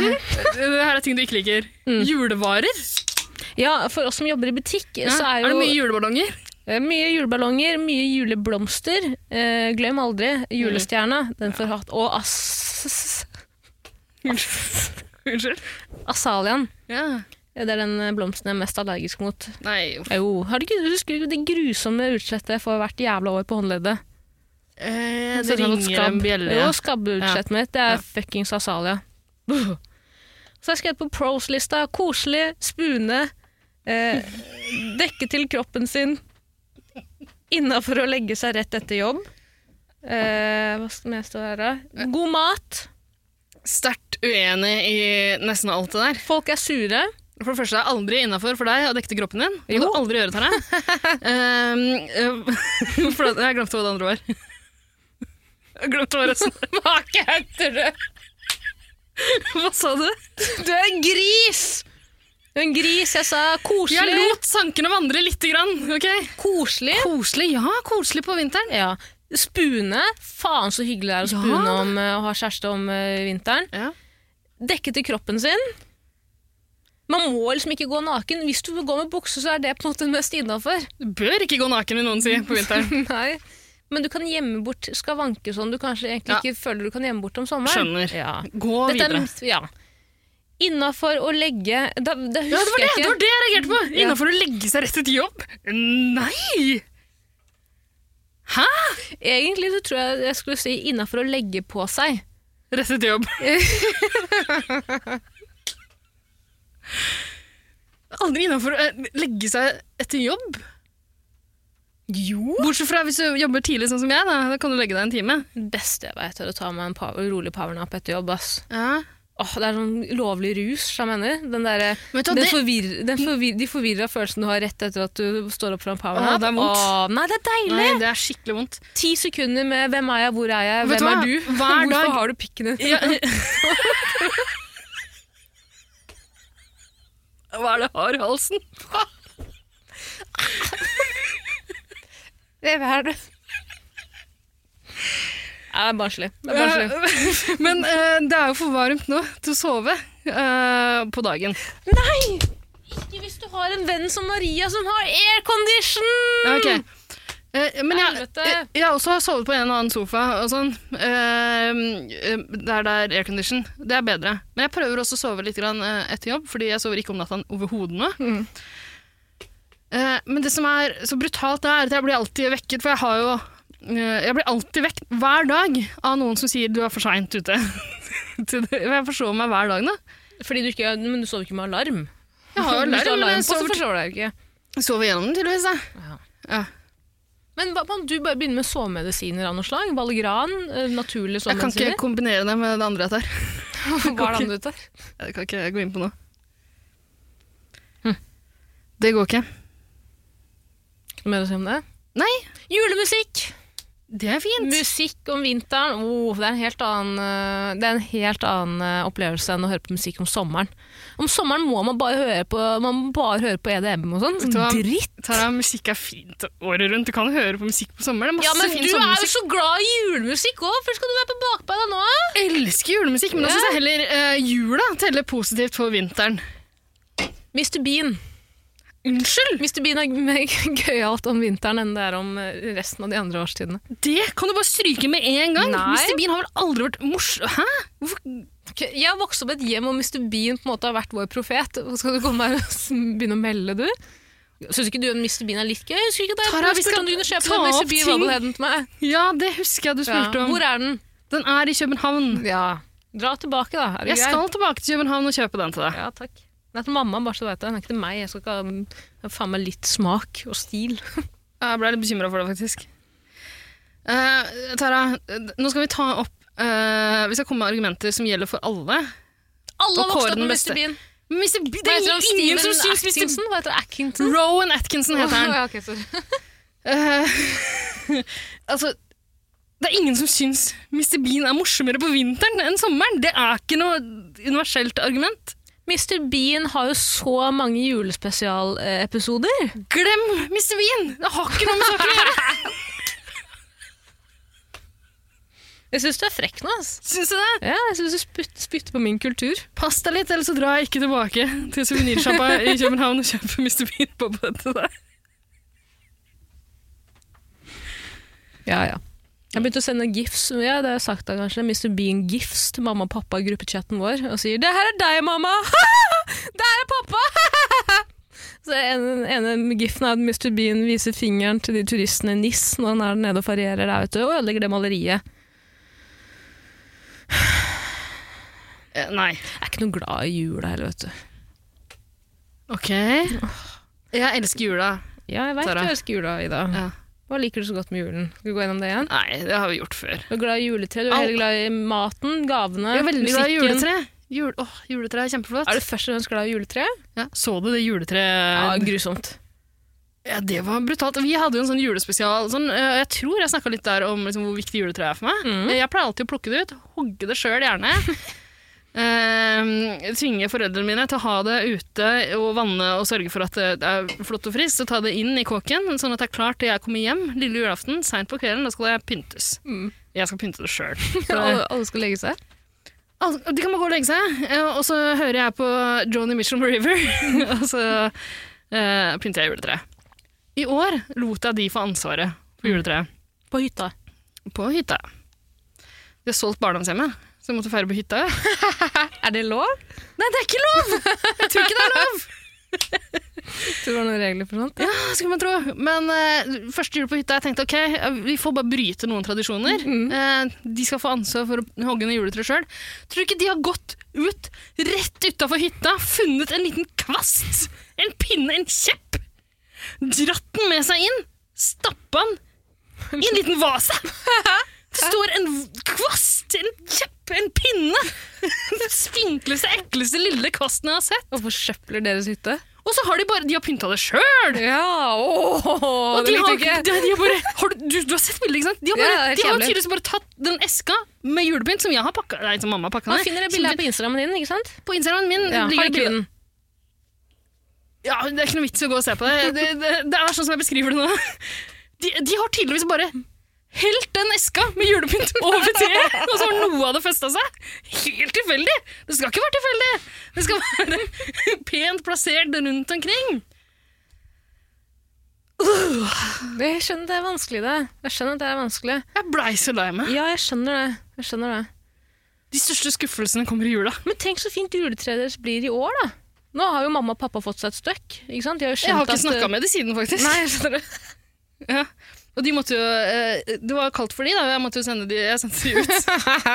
B: Det her er ting du ikke liker. Julevarer?
A: Ja, for oss som jobber i butikk,
B: Ja.
A: så
B: er,
A: er jo
B: det mye juleballonger?
A: Eh, Mye juleballonger, mye juleblomster. Eh, glem
B: Mm.
A: aldri julestjerna, den får hatt. Og as
B: Unnskyld. Unnskyld.
A: asalian.
B: Ja.
A: Eh, Det er den eh, blomsten jeg er mest allergisk mot.
B: Nei, uff.
A: Jo, har du ikke husker du det grusomme utslettet jeg får hvert jævla år på håndleddet?
B: Eh,
A: Så
B: det
A: har fått
B: ringer
A: skabb.
B: en bjelle.
A: Jo, skabbeutslettet mitt. Det
B: Ja.
A: er fuckings asalia. Buh. Så har jeg skrevet på pros-lista. Koselig, spune, eh, dekke til kroppen sin, innafor å legge seg rett etter jobb. Eh, hva skal jeg stå her, da? God mat.
B: Sterkt uenig i nesten alt det der.
A: Folk er sure.
B: For det første er det aldri innafor for deg å dekke til kroppen din. Det må
A: Jo.
B: du aldri gjøre, Tara. um, eh, for det, jeg glemte hva det andre var. Jeg glemte hva resten
A: Hva heter du?
B: Hva sa du?
A: Du er en gris! Du er en gris, jeg sa.
B: Jeg
A: Koselig.
B: lot sankene vandre lite grann. ok?
A: Koselig.
B: Koselig, ja. Koselig på vinteren.
A: Ja. Spune. Faen så hyggelig det er å
B: Ja.
A: spune om eh, å ha kjæreste om eh, vinteren.
B: Ja.
A: Dekke til kroppen sin. Man må liksom ikke gå naken. Hvis du går med bukse, så er det på en måte mest innafor.
B: Du bør ikke gå naken, vil noen si, på vinteren.
A: Nei. Men du kan gjemme bort skavanker sånn du kanskje egentlig
B: Ja.
A: ikke føler du kan gjemme bort om sommeren.
B: Skjønner.
A: Ja.
B: Gå
A: Dette er
B: videre.
A: mitt, ja. Innafor å legge Da, da husker
B: Ja,
A: jeg
B: det var det, det
A: ikke.
B: var det jeg reagerte på!
A: Ja.
B: Innenfor å legge seg rett etter jobb? Nei!
A: Egentlig så tror jeg jeg skulle si innafor å legge på seg.
B: Rett etter jobb. Aldri innafor å eh, legge seg etter jobb.
A: Jo.
B: Bortsett fra hvis du jobber tidlig, sånn som jeg. Da, da kan du legge deg en time.
A: Beste jeg vet er å ta meg en power, rolig powernap etter jobb, ass.
B: Ja.
A: åh, det er sånn lovlig rus, som jeg mener. Den derre
B: Men vet du hva,
A: den
B: det-
A: forvirr, den forvirr, De forvirra følelsen du har rett etter at du står opp fra en power
B: Åh, det er vondt.
A: nei, det er deilig!
B: Nei, det er skikkelig vondt.
A: Ti sekunder med 'hvem er jeg, hvor er jeg,
B: Vet
A: hvem er
B: du
A: du?'
B: hva? Hver
A: Hvorfor
B: dag-
A: har du pikken din?
B: Ja. Hva er det har i halsen?
A: Hvem er du? Nei, det er barnslig. Det er barnslig.
B: Eh, Men eh, det er jo for varmt nå til å sove eh, på dagen.
A: Ikke hvis du har en venn som Maria som har aircondition!
B: Ja, ok. Eh, men jeg,
A: Mm. Helvete.
B: jeg, jeg også har sovet på en og annen sofa og sånn. Eh, eh, der det er aircondition. Det er bedre. Men jeg prøver også å sove litt grann, eh, etter jobb, fordi jeg sover ikke om natta overhodet nå.
A: Mm.
B: Eh, men det som er så brutalt, er at jeg blir alltid vekket, for jeg har jo eh, Jeg blir alltid vekket hver dag av noen som sier 'du er for seint ute'. Til det- jeg forsover meg hver dag nå.
A: Fordi du ikke, men du sover ikke med alarm.
B: Jeg har jo
A: Hvis du
B: alarm, men jeg
A: på, så
B: sover,
A: forstår du deg ikke.
B: sover gjennom den tydeligvis. da. Ja.
A: Men hva om du bare begynner med sovemedisiner av noe slag? Valgran, eh, naturlige
B: Jeg kan ikke
A: sovemedisiner?
B: kombinere det med det andre jeg tar.
A: Hva er det andre du tar?
B: Jeg kan ikke gå inn på noe.
A: Hm.
B: Det går ikke.
A: Ikke noe mer å si om det?
B: Nei.
A: Julemusikk!
B: Det er fint.
A: Musikk om vinteren, oh, det er en helt annen, eh, det er en helt annen eh, opplevelse enn å høre på musikk om sommeren. Om sommeren må man bare høre på, man må bare høre på EDM og sånn.
B: du hva?
A: Dritt!
B: Tara, musikk er fint året rundt. Du kan høre på musikk på sommeren. Det
A: Ja,
B: er masse
A: men
B: fin
A: du er jo
B: sommermusikk.
A: så glad i julemusikk òg! Hvorfor skal du være på bakbeina nå?
B: Jeg elsker julemusikk, men da
A: Ja.
B: syns jeg heller eh, jula teller positivt for vinteren.
A: Mr. Bean.
B: Unnskyld!
A: Mr. Bean er mer gøyalt om vinteren enn det er om eh, resten av de andre årstidene.
B: Det kan du bare stryke med en gang.
A: Nei.
B: Mr. Bean har vel aldri vært morsom Hæ?
A: Ok, Jeg har vokst opp i et hjem hvor Mr. Bean på en måte har vært vår profet. Og Skal du komme her og s- begynne å melde, du? Syns ikke du at Mr. Bean er litt gøy? Skulle ikke det?
B: Tara, vi
A: Jeg spurte
B: skal
A: om du kunne kjøpe
B: ta
A: den
B: opp
A: Mr. Bean
B: ting.
A: Wobbleheaden til meg.
B: Ja, det husker jeg du
A: Ja.
B: spurte om.
A: Hvor er den?
B: Den er i København.
A: Ja. Dra tilbake, da. Er det
B: Jeg skal tilbake til København og kjøpe den til deg.
A: Ja, takk. Den er til mamma, bare så du vet det. Den er ikke til meg. Jeg skal ikke ha jeg har faen meg litt smak og stil.
B: Jeg ble litt bekymra for det, faktisk. Eh, Tara, eh, nå skal vi ta opp eh, Vi skal komme med argumenter som gjelder for alle.
A: Alle har vokst
B: Og kåre
A: opp
B: den
A: med
B: beste.
A: Mr. Bean.
B: Men Mr. B-
A: Hva
B: det
A: heter han?
B: er ingen som
A: Steven
B: syns
A: Atkinson?
B: Mr.
A: Hva heter han?
B: B-
A: Atkinson?
B: Rowan Atkinson heter han.
A: Ja, ok, sorry.
B: Eh, altså, det er ingen som syns Mr. Bean er morsommere på vinteren enn sommeren. Det er ikke noe universelt argument.
A: Mr. Bean har jo så mange julespesialepisoder.
B: Glem Mr. Bean! Det har ikke noe med saken å gjøre.
A: Jeg syns du er frekk nå. ass.
B: Syns du det?
A: Ja, jeg syns du spytter på min kultur.
B: Pass deg litt, ellers så drar jeg ikke tilbake til suvenirsjappa i København og kjøper Mr. Bean-boble til deg.
A: Ja, ja. Jeg begynte å sende gifs, ja, det har jeg sagt da kanskje, Mr. Bean gifs til mamma og pappa i gruppechatten vår, og sier 'det her er deg, mamma', 'det her er pappa'. Så en, ene gifen er at Mr. Bean viser fingeren til de turistene i NIS når han er nede og ferierer der ute, og ødelegger det maleriet.
B: Eh, Nei.
A: Jeg er ikke noe glad i jula heller, vet du.
B: Ok. Jeg elsker jula.
A: Ja, jeg veit du
B: Tara.
A: elsker jula, Ida.
B: Ja.
A: Hva liker du så godt med julen? Skal vi gå gjennom det igjen?
B: Nei, det har vi gjort før.
A: Du er glad i juletre, du er
B: Au.
A: veldig glad i maten, gavene,
B: Jeg er veldig glad i
A: musikken.
B: juletre. Jul, åh, juletre er kjempeflott.
A: Er du først og fremst glad i juletre?
B: ja. Så du det
A: Ja,
B: juletreet? Ja,
A: grusomt.
B: det var brutalt. Vi hadde jo en sånn julespesial. Sånn, eh, jeg tror jeg snakka litt der om liksom, hvor viktig juletre er for meg.
A: Mm.
B: Eh, Jeg pleier alltid å plukke det ut. Hogge det sjøl, gjerne. Eh, tvinge foreldrene mine til å ha det ute og vanne og sørge for at det er flott og friskt. Og ta det inn i kåken, sånn at det er klart til jeg kommer hjem lille julaften seint på kvelden. Da skal det pyntes.
A: Mm.
B: Jeg skal pynte det sjøl.
A: Alle, alle skal legge seg.
B: Al- De Altså, kan bare gå og legge seg, eh, og så hører jeg på Johnny Mitchell med River, og så eh, pynter jeg juletreet. I år lot jeg de få ansvaret for juletreet
A: På hytta.
B: på hytta. De har solgt barndomshjemmet, så jeg måtte feire på hytta.
A: Er det lov?
B: Nei, det er ikke lov! Jeg tror ikke det er lov!
A: Tror du det var noen regler for sånt?
B: Ja, skulle man tro. Men eh, første jul på hytta, jeg tenkte ok, vi får bare bryte noen tradisjoner. Eh, de skal få ansvar for å hogge ned juletreet sjøl. Tror du ikke de har gått ut rett utafor hytta, funnet en liten kvast, en pinne, en kjepp, dratt den med seg inn, stappa den i en liten vase? Det står en kvast, en kjepp, en pinne, en ynkeligste, ekleste lille kvasten jeg har sett.
A: Og forsøpler deres hytte.
B: Og så har de bare De har pynta det sjøl!
A: Ja, åh,
B: Og
A: det
B: de
A: likte
B: har,
A: jeg ikke.
B: de, de har bare, har du, du, du har sett bildet, ikke sant? De har, bare,
A: Ja, det er helt
B: de har
A: jævlig.
B: tydeligvis bare tatt den eska med julepynt som jeg har pakka Nei, som mamma har pakka
A: Man
B: ned.
A: finner det
B: Som
A: bildet her på Instagrammen din, ikke sant?
B: på Instagramen min.
A: Ja,
B: ligger
A: har
B: det
A: ikke
B: bildet.
A: den.
B: Ja, Det er ikke noe vits i å gå og se på det. Det, det, det er sånn som jeg beskriver det nå. De, de har tydeligvis bare helt den eska med julepynt over treet, og så har noe av det festa seg. Helt tilfeldig! Det skal ikke være tilfeldig! Det skal være pent plassert rundt omkring.
A: Jeg skjønner det er vanskelig, det. Jeg skjønner at det er vanskelig.
B: Jeg blei så lei meg.
A: Ja, jeg skjønner det. Jeg skjønner det.
B: De største skuffelsene kommer i jula.
A: Men tenk så fint juletreet deres blir i år, da. Nå har jo mamma og pappa fått seg et støkk. Ikke sant? De har jo
B: Jeg har ikke
A: skjønt
B: snakka
A: at eh,
B: med de siden, faktisk.
A: Nei, skjønner du.
B: Ja. Og de måtte jo eh, Det var kaldt for de, da. Jeg måtte jo sende de, jeg sendte de ut.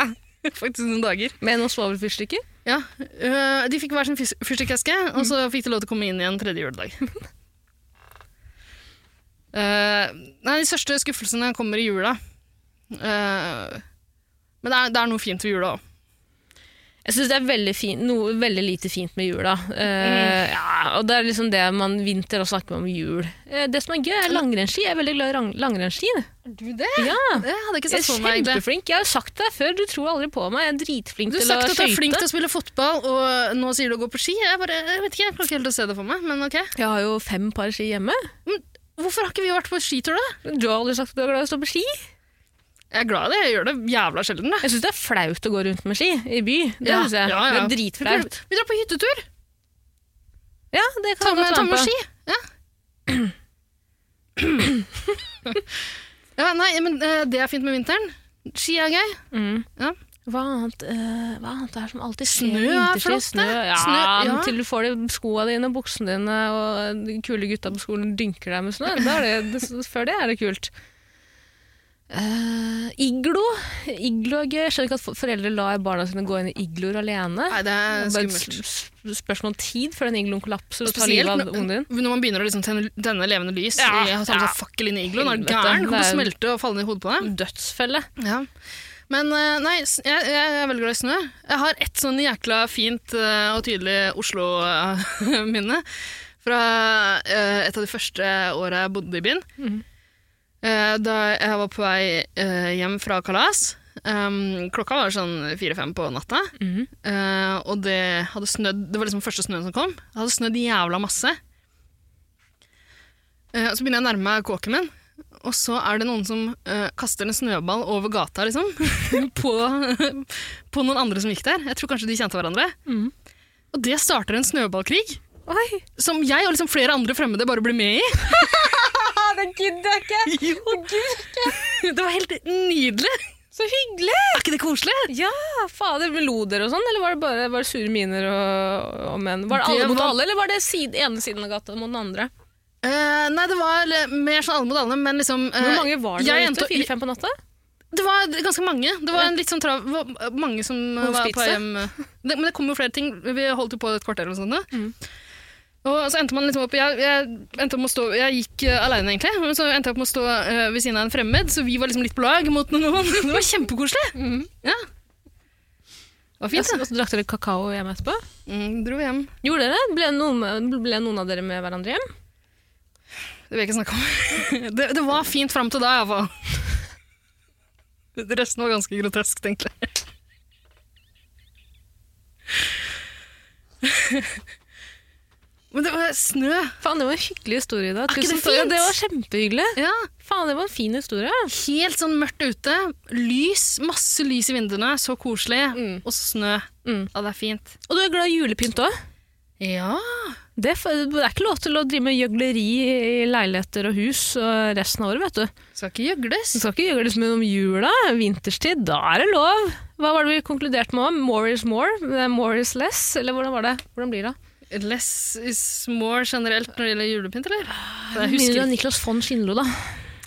B: faktisk noen dager.
A: Med noen svovelfyrstikker?
B: Ja, øh, De fikk hver sin fys- fyrstikkeske, og så fikk de lov til å komme inn igjen tredje juledag. Eh, nei, De største skuffelsene kommer i jula. Eh, men det er, det er noe fint ved jula òg.
A: Jeg syns det er veldig, fint, noe veldig lite fint med jula.
B: Mm.
A: Eh, ja, og det er liksom det man vinter og snakker om jul. Eh, det som er gøy, er langrennsski. Jeg er veldig glad i rang- langrennsski.
B: Du det?
A: Ja,
B: Det hadde jeg ikke
A: jeg er
B: sett for meg. Det.
A: kjempeflink. Jeg har jo sagt det før, du tror aldri på meg. Jeg er dritflink
B: Du har
A: til å
B: sagt at du er flink
A: skøyte.
B: til å spille fotball, og nå sier du å gå på ski. Jeg, bare, jeg vet ikke, jeg klarer ikke helt å se det for meg, men ok.
A: Jeg har jo fem par ski hjemme.
B: Hvorfor har ikke vi vært på skitur, da?
A: Du har aldri sagt at du er glad i å stå på ski.
B: Jeg er glad i det, jeg gjør det jævla sjelden. da.
A: Jeg syns det er flaut å gå rundt med ski i by. Det
B: Ja,
A: synes jeg.
B: ja, ja.
A: Det er dritflaut.
B: Vi drar på hyttetur!
A: Ja, det kan
B: Ta
A: jeg
B: med,
A: godt
B: ta
A: være
B: med
A: på.
B: ski. Ja. ja, nei, men eh, det er fint med vinteren. Ski er gøy.
A: Mm.
B: Ja.
A: Hva, annet, eh, hva annet er det som alltid skjer?
B: Snø er
A: vinterstid?
B: flott, det.
A: Snø, ja,
B: Snø, ja.
A: men Til du får de skoene dine, buksene dine, og de kule gutta på skolen dynker deg med snø. Da er det, det, før det er det kult. Eh, iglo. iglo er gøy. Jeg skjønner ikke at for- foreldre lar barna sine gå inn i igloer alene.
B: Nei, det
A: Det
B: er
A: er bare
B: skummelt.
A: et s- s- spørsmål om tid før den igloen kollapser og tar livet
B: Spesielt
A: av
B: når-
A: ungen din.
B: Når man begynner å liksom tenne, tenne levende lys
A: Ja,
B: i å ta med
A: ja.
B: seg fakkel inn i igloen, er du
A: Helvete,
B: gæren? Kommer til å
A: det
B: smelte og falle ned i hodet på deg.
A: Mm. Dødsfelle.
B: Ja. Men eh, nei, s- jeg, jeg er veldig glad i snø. Jeg har ett sånn jækla fint eh, og tydelig Oslo-minne fra eh, et av de første åra jeg bodde i byen.
A: Mhm.
B: Eh, Da jeg var på vei eh, hjem fra kalas. Um, klokka var sånn fire-fem på natta,
A: Mhm.
B: eh, og det hadde snødd Det var liksom første snøen som kom. Det hadde snødd jævla masse. Eh, og så begynner jeg å nærme meg kåken min, og så er det noen som eh, kaster en snøball over gata, liksom. på, på noen andre som gikk der. Jeg tror kanskje de kjente hverandre.
A: Mhm.
B: Og det starter en snøballkrig
A: Oi!
B: som jeg og liksom flere andre fremmede bare blir med i.
A: det gidder jeg ikke!
B: Det var helt nydelig!
A: Så hyggelig!
B: Er ikke det koselig?
A: Ja, fader, men lo dere og sånn, eller var det bare var det sure miner og, og menn? Var det alle
B: Det
A: mot
B: var-
A: alle, eller var det side, ene siden av gata mot den andre?
B: Eh, nei, det var le- mer sånn alle mot alle, men liksom eh,
A: Hvor mange var det
B: jeg
A: der
B: endte
A: ute?
B: opp-
A: Fire-fem på natta?
B: Det var ganske mange. Det var en litt sånn trav... var Mange som eh, var på
A: Hospitset.
B: hjem. Det, men det kom jo flere ting. Vi holdt jo på et kvarter eller noe sånt. da.
A: Mm.
B: Og så endte man liksom opp Jeg, jeg endte opp med å stå Jeg gikk eh, alene, egentlig. Men så endte jeg opp med å stå eh, ved siden av en fremmed, så vi var liksom litt på lag mot noen. Det var kjempekoselig! Ja. Det var
A: Fint,
B: fint,
A: og Mm. så drakk dere kakao hjemme etterpå?
B: da. Mm, dro hjem.
A: Gjorde dere? Ble noen, ble noen av dere med hverandre hjem?
B: Det vil jeg ikke snakke om. Det, det var fint fram til da, iallfall. Resten var ganske grotesk, egentlig. Men det var snø.
A: Faen, det var en hyggelig historie da.
B: Er ikke
A: Tusen takk. Ja,
B: det fint?
A: Det var kjempehyggelig.
B: Ja,
A: Faen, det var en fin historie.
B: Helt sånn mørkt ute. Lys. Masse lys i vinduene. Så koselig.
A: Mm.
B: Og så snø.
A: Mm.
B: Ja, det er fint.
A: Og du er glad i julepynt òg?
B: Ja.
A: Det, er f- det er ikke lov til å drive med gjøgleri i leiligheter og hus og resten av året, vet du.
B: Skal ikke gjøgles.
A: Du skal ikke gjøre det som om jula, vinterstid, da er det lov. Hva var det vi konkluderte med? More is more, eh, more is less, eller hvordan var det? Hvordan blir det?
B: Less is more generelt når Ah, det gjelder julepynt, eller? Jeg
A: Minner
B: husker
A: du om
B: ikke.
A: Niklas von Schindlo, da?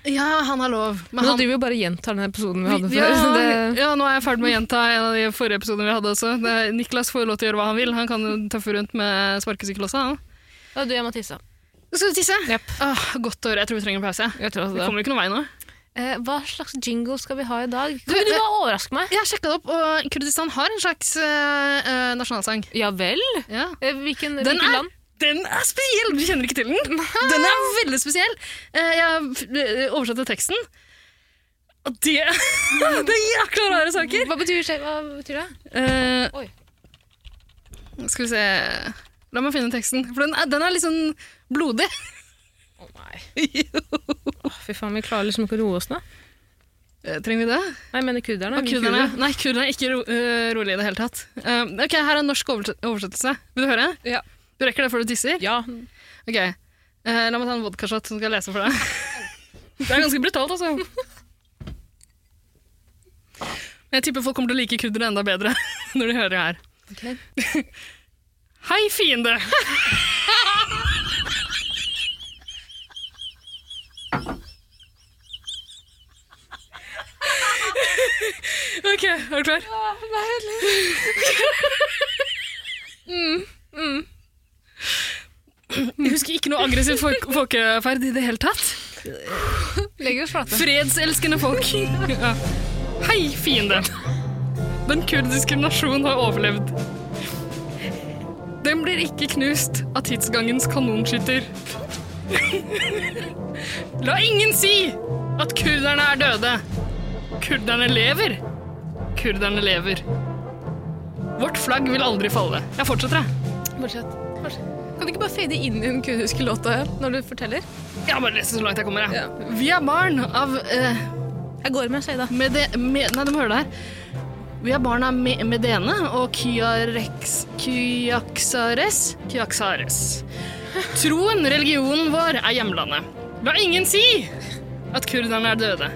B: Ja, han har lov.
A: Men
B: han
A: Nå driver vi jo bare og gjentar den episoden vi hadde
B: Vi-
A: før. så
B: Ja,
A: det,
B: ja, nå er jeg ferdig med å gjenta en av de forrige episodene vi hadde også. Det er, Niklas får lov til å gjøre hva han vil. Han kan jo tøffe rundt med sparkesykkel også. Han.
A: ja, du, jeg må tisse.
B: Skal du tisse?
A: Jepp.
B: Åh, godt å høre. Jeg tror vi trenger en pause.
A: Jeg tror
B: Vi
A: også det.
B: kommer ikke noen vei nå.
A: Eh, hva slags jingle skal vi ha i dag? Kan ikke du bare overraske meg?
B: Jeg sjekka det opp, og Kurdistan har en slags eh, eh, nasjonalsang.
A: Ja vel?
B: Ja.
A: Eh, Hvilken,
B: Den
A: hvilket
B: er-
A: land?
B: Den er spesiell! Du kjenner ikke til den? Den er veldig spesiell. Eh, Jeg eh, oversatte teksten, og det Det er jækla rare saker!
A: Hva betyr, det? hva betyr det?
B: Eh,
A: Oi.
B: Skal vi se La meg finne teksten, for den er, den er litt sånn blodig.
A: Å nei.
B: Jo.
A: Fy faen, vi klarer liksom ikke å roe oss nå.
B: Eh, Trenger vi det?
A: Nei, jeg mener kurderne.
B: Og
A: vi
B: kurderne,
A: kurder.
B: nei, kurderne er ikke ro, eh, rolig i det hele tatt. Um, ok, Her er en norsk overse- oversettelse. Vil du høre?
A: Ja.
B: Du rekker det før du tisser?
A: Ja.
B: Ok, eh, La meg ta en vodkashot som skal lese for deg. Det er ganske brutalt, altså. Men Jeg tipper folk kommer til å like kurdere enda bedre når de hører det her. Hei, fiende! OK, er du klar? Jeg husker ikke noe aggressiv folk folkeferd i det hele tatt.
A: Legger oss flate.
B: Fredselskende folk. Ja. Hei, fiende. Den kurdiske nasjonen har overlevd. Den blir ikke knust av tidsgangens kanonskytter. La ingen si at kurderne er døde. Kurderne lever. Kurderne lever. Vårt flagg vil aldri falle. Jeg fortsetter, jeg.
A: Fortsett. Fortsett. Kan du ikke bare fade inn i den kurdiske låta når du forteller?
B: Jeg har bare lest det så langt jeg kommer.
A: Ja.
B: Jeg. Vi er barn av eh,
A: Jeg går med Seida.
B: med det, med, Nei, du må høre det her. Vi har barna Me- Medene og Kyarex, Kyaksares Kyaksares. Troen, religionen vår, er hjemlandet. La ingen si at kurderne er døde.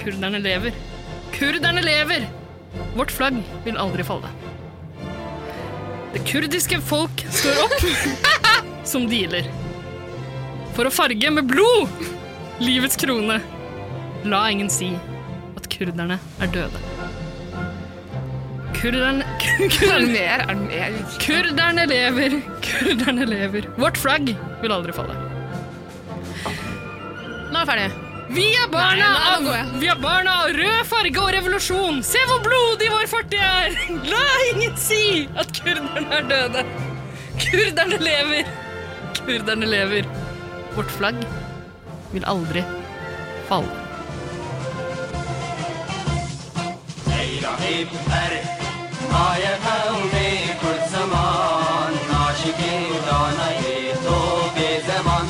B: Kurderne lever. Kurderne lever! Vårt flagg vil aldri falle. Det kurdiske folk står opp som dealer. For å farge med blod livets krone. La ingen si at kurderne er døde. Kurderne,
A: Er det
B: kurderne,
A: mer? Er det mer?
B: kurderne lever, kurderne lever. Vårt flagg vil aldri falle.
A: Nå er vi ferdige.
B: Vi er barna,
A: Nei, nå- nå går
B: av, vi er barna av rød farge og revolusjon. Se hvor blodig vår fortid er! La ingen si at kurderne er døde. Kurderne lever. Kurderne lever. Vårt flagg vil aldri falle.
C: رحيب أرد يا قومي كل زمان ناشكي ودانا يتو بزمان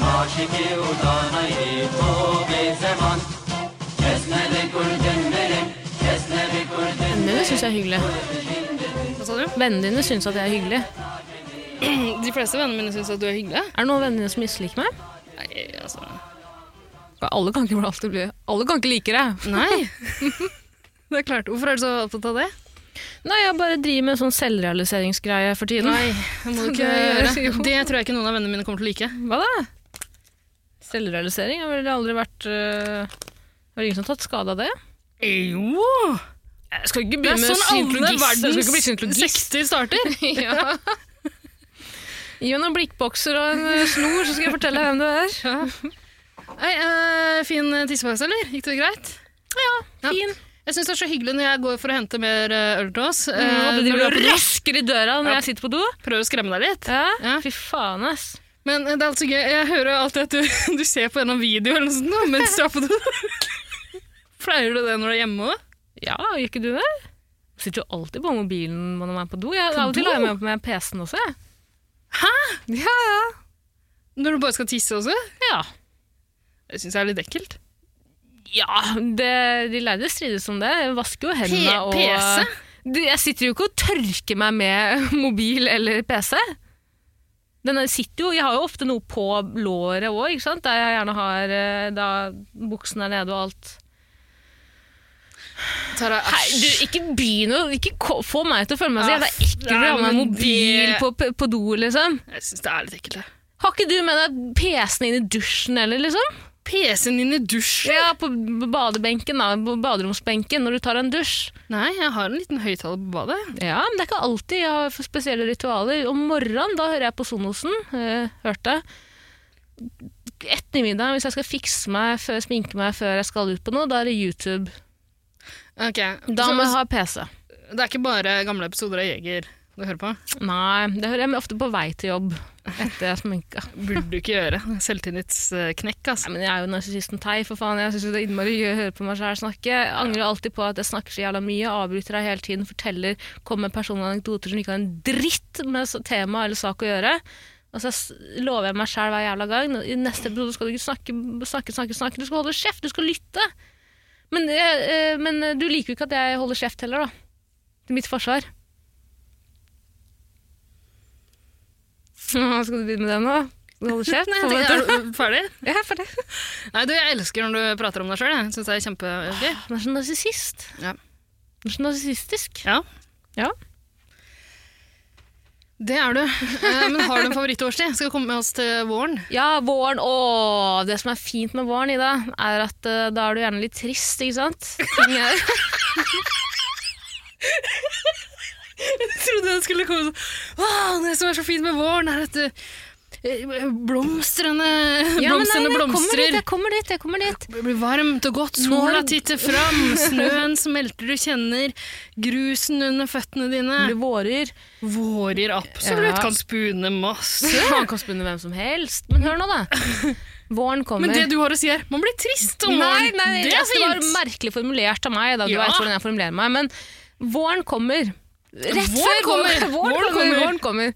C: ناشكي ودانا يتو بزمان جسنا لكل جنبنا جسنا لكل جنبنا
A: Vennene dine syns jeg er hyggelig.
B: Hva sa du?
A: Vennene dine syns at jeg er hyggelig.
B: De fleste vennene mine syns at du er hyggelig.
A: Er det noen venner dine som misliker meg?
B: Nei, altså
A: Alle kan ikke, alltid bli. Alle kan ikke like deg.
B: Nei. Det er klart. Hvorfor er du så opptatt av det?
A: Nei, jeg bare driver med en sånn selvrealiseringsgreie for tiden.
B: det må
A: Det
B: du ikke
A: gjør jeg
B: gjøre.
A: jo.
B: Det tror jeg ikke noen av vennene mine kommer til å like.
A: Hva da? Selvrealisering har vel aldri vært øh, Har ingen som tatt skade av det?
B: Jo!
A: Jeg skal ikke
B: Det er sånn alle
A: skal bli
B: verdens
A: syntologist.
B: sekter starter.
A: ja. Gi meg noen blikkbokser og en øh, snor, så skal jeg fortelle hvem du er.
B: Hei, eh, fin tissepause, eller? Gikk det greit? Ja.
A: Fin.
B: Jeg syns det er så hyggelig når jeg går for å hente mer eh, øl til oss. eh,
A: Mm,
B: når
A: når
B: du
A: du røsker i døra når jeg sitter på do.
B: prøver å skremme deg litt.
A: Ja.
B: Ja.
A: Fy faen, ass.
B: Men eh, det er altså gøy. Jeg hører jo alltid at du, du ser på en eller annen video eller noe sånt nå, mens du er på do. Pleier du det når du er hjemme òg?
A: Ja, gjør ikke du det? Jeg sitter jo alltid på mobilen når man er på do. Jeg,
B: På
A: av og til
B: do?
A: har jeg med på meg PC-en også. jeg. Ja, ja.
B: Når du bare skal tisse også?
A: Ja,
B: Det syns jeg er litt ekkelt.
A: ja det, de lærde strides om det. Jeg vasker jo
B: P-
A: hendene og
B: PC?
A: Du, jeg sitter jo ikke og tørker meg med mobil eller PC. Den er- sitter jo, jeg har jo ofte noe på låret òg, der jeg gjerne har eh, da buksen er nede og alt.
B: Tara,
A: Hei,
B: æsj.
A: du, ikke begynn å Ikke ko- få meg til å føle meg så jævla
B: Aff,
A: ekkel for å ha
B: nei,
A: med
B: men
A: mobil
B: det-
A: på, p- på do, liksom.
B: Jeg syns det er litt ekkelt. det.
A: Har ikke du med deg PC-en inn i dusjen heller, liksom?
B: PC-en din i dusjen?
A: Ja, på b- badebenken, da. På baderomsbenken når du tar en dusj.
B: Nei, jeg har en liten høyttaler på badet.
A: Ja, men det er ikke alltid jeg har spesielle ritualer. Om morgenen, da hører jeg på Sonosen. Eh, hørte. etter middag, hvis jeg skal fikse meg, før, sminke meg før jeg skal ut på noe, da er det YouTube.
B: Ok,
A: Da
B: så,
A: må jeg ha PC.
B: Det er ikke bare gamle episoder av Jeger du hører på.
A: Nei, det hører jeg men ofte på vei til jobb etter jeg har sminka.
B: Burde du ikke gjøre. Selvtillitsknekk, altså.
A: Nei, men jeg er jo narsissisten tei, for faen. Jeg syns det er innmari gøy å høre på meg sjæl snakke. Jeg angrer alltid på at jeg snakker så jævla mye, avbryter deg hele tiden, forteller, kommer med personlige anekdoter som ikke har en dritt med s- tema eller sak å gjøre. Og så s- lover jeg meg sjæl hver jævla gang. I neste episode skal du ikke snakke, snakke, snakke, snakke. Du skal holde kjeft, du skal lytte. Men, eh, eh, men eh, du liker jo ikke at jeg holder kjeft heller, da. Til mitt forsvar. Skal du begynne med det nå? Skal du holde kjeft?
B: Nei, jeg tenker, er du ferdig?
A: Jeg er ferdig.
B: Nei, du, jeg elsker når du prater om deg sjøl. Jeg syns det er kjempegøy.
A: Han er så narsissist.
B: Ja.
A: Han er så narsissistisk.
B: Ja.
A: Ja.
B: Det er du. Eh, Men har du en favorittårstid? Skal vi komme med oss til våren?
A: Ja, våren. Å, det som er fint med våren, Ida, er at eh, da er du gjerne litt trist, ikke sant? Ting er...
B: Jeg trodde jeg skulle komme sånn Åh, det som er så fint med våren, er at eh, blomstrene
A: Ja, men nei, nei, jeg
B: Blomstene
A: kommer dit,
B: blomstrer.
A: jeg kommer dit, jeg kommer dit.
B: Det blir varmt og godt, sola
A: Når-
B: titter fram, snøen smelter, du kjenner grusen under føttene dine.
A: Det blir vårer.
B: Vårer absolutt,
A: Ja.
B: kan spune masse.
A: Man kan spune hvem som helst. Men hør nå, da. Våren kommer.
B: Men det du har å si her, man blir trist om
A: Nei,
B: våren.
A: nei,
B: det er
A: altså, det var
B: fint.
A: merkelig formulert av meg, da. Du
B: Ja.
A: vet hvordan jeg formulerer meg. Men våren kommer. Rett
B: Våren
A: før
B: kommer.
A: våren,
B: Våren
A: våren kommer.
B: kommer.
A: Våren kommer.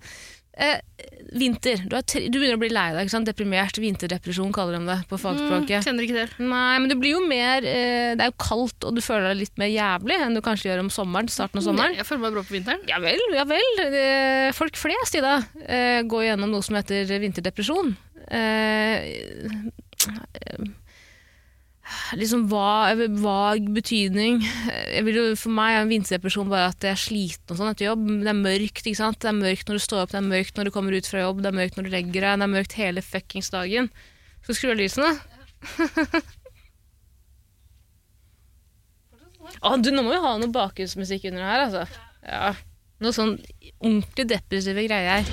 A: Eh, vinter. Du, er tre, du begynner å bli lei deg. ikke sant? Deprimert. Vinterdepresjon kaller de det
B: Mm.
A: på fagspråket.
B: Kjenner ikke til.
A: Nei, men det blir jo mer eh, Det er jo kaldt, og du føler deg litt mer jævlig enn du kanskje gjør om sommeren. starten av sommeren.
B: Jeg føler meg bra på vinteren.
A: Ja vel, ja vel. Eh, Folk flest, Ida, eh, går gjennom noe som heter vinterdepresjon. Eh, eh, Liksom vag, vag betydning. Eh, Jeg vil jo, for meg er en vinterdepresjon bare at jeg er sliten og sånn etter jobb. men Det er mørkt ikke sant? Det er mørkt når du står opp, det er mørkt når du kommer ut fra jobb, det er mørkt når du legger deg, det er mørkt hele fuckings dagen. Skal du skru av lysene? Å, du, nå må vi ha noe bakgrunnsmusikk under her, altså. Ja. Noe sånn ordentlig depressive greier.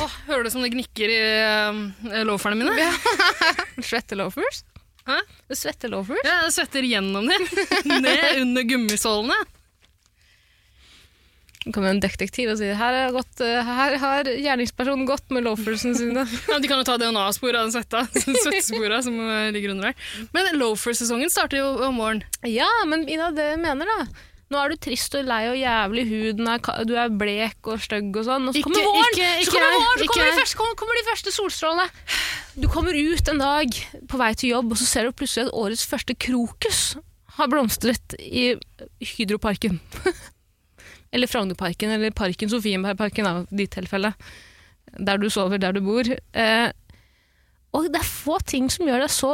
B: Åh, hører du som det gnikker i uh, loaferne mine? Ja.
A: Svette loafers?
B: Hæ?
A: Svette loafers?
B: Jeg svetter gjennom det. Ned under gummisålene.
A: Så kommer en detektiv og sier her, er gått, eh, her har gjerningspersonen gått med loafersene sine.
B: Ja, de kan jo ta DNA-spor av den svetta. Svettesporene som eh, ligger under der. Men loafer-sesongen starter jo om våren.
A: ja, men Ida, det jeg mener da. Nå er du trist og lei og jævlig i huden, er ka- du er blek og stygg og sånn. Og så
B: Ikke-
A: kommer våren!
B: ikke-
A: så kommer
B: ikke-
A: våren, så kommer,
B: ikke-
A: de første, kommer, kommer de første solstrålene. Du kommer ut en dag på vei til jobb, og så ser du plutselig at årets første krokus har blomstret i Hydroparken. eller Frognerparken, eller Parken Sofienbergparken, av ditt tilfelle. Der du sover, der du bor. Eh, og det er få ting som gjør deg så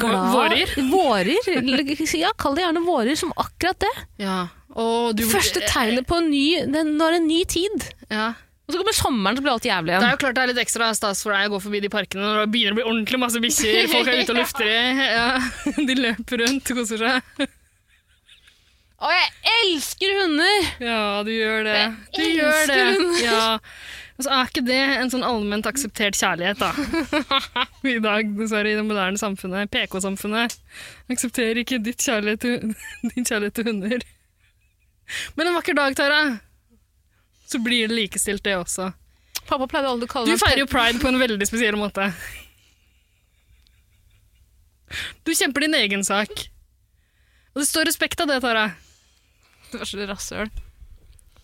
A: glad
B: Vårer?
A: Vårer, eller- Ja, kall det gjerne vårer, som akkurat det.
B: Ja. Og du, Eh,
A: Første tegnet på en ny, det, når en ny tid.
B: Ja.
A: Og så kommer sommeren, så blir alt jævlig
B: Det er
A: igjen.
B: jo klart det er litt ekstra stas for deg å gå forbi de parkene når det begynner å bli ordentlig masse bikkjer, folk er ute og lufter i, ja. de løper rundt og koser seg.
A: Og jeg elsker hunder!
B: Ja, du gjør det. Du
A: Jeg
B: gjør det.
A: elsker hunder.
B: Ja. Og så er ikke det en sånn allment akseptert kjærlighet, da. I dag, dessverre, i det moderne samfunnet, PK-samfunnet, aksepterer ikke ditt kjærlighet til, din kjærlighet til hunder. Men en vakker dag, Tara, så blir det likestilt, det også.
A: Pappa pleide aldri å kalle
B: Du
A: meg
B: feirer jo pride på en veldig spesiell måte. Du kjemper din egen sak. Og det står respekt av det, Tara.
A: Det var så rasshøl.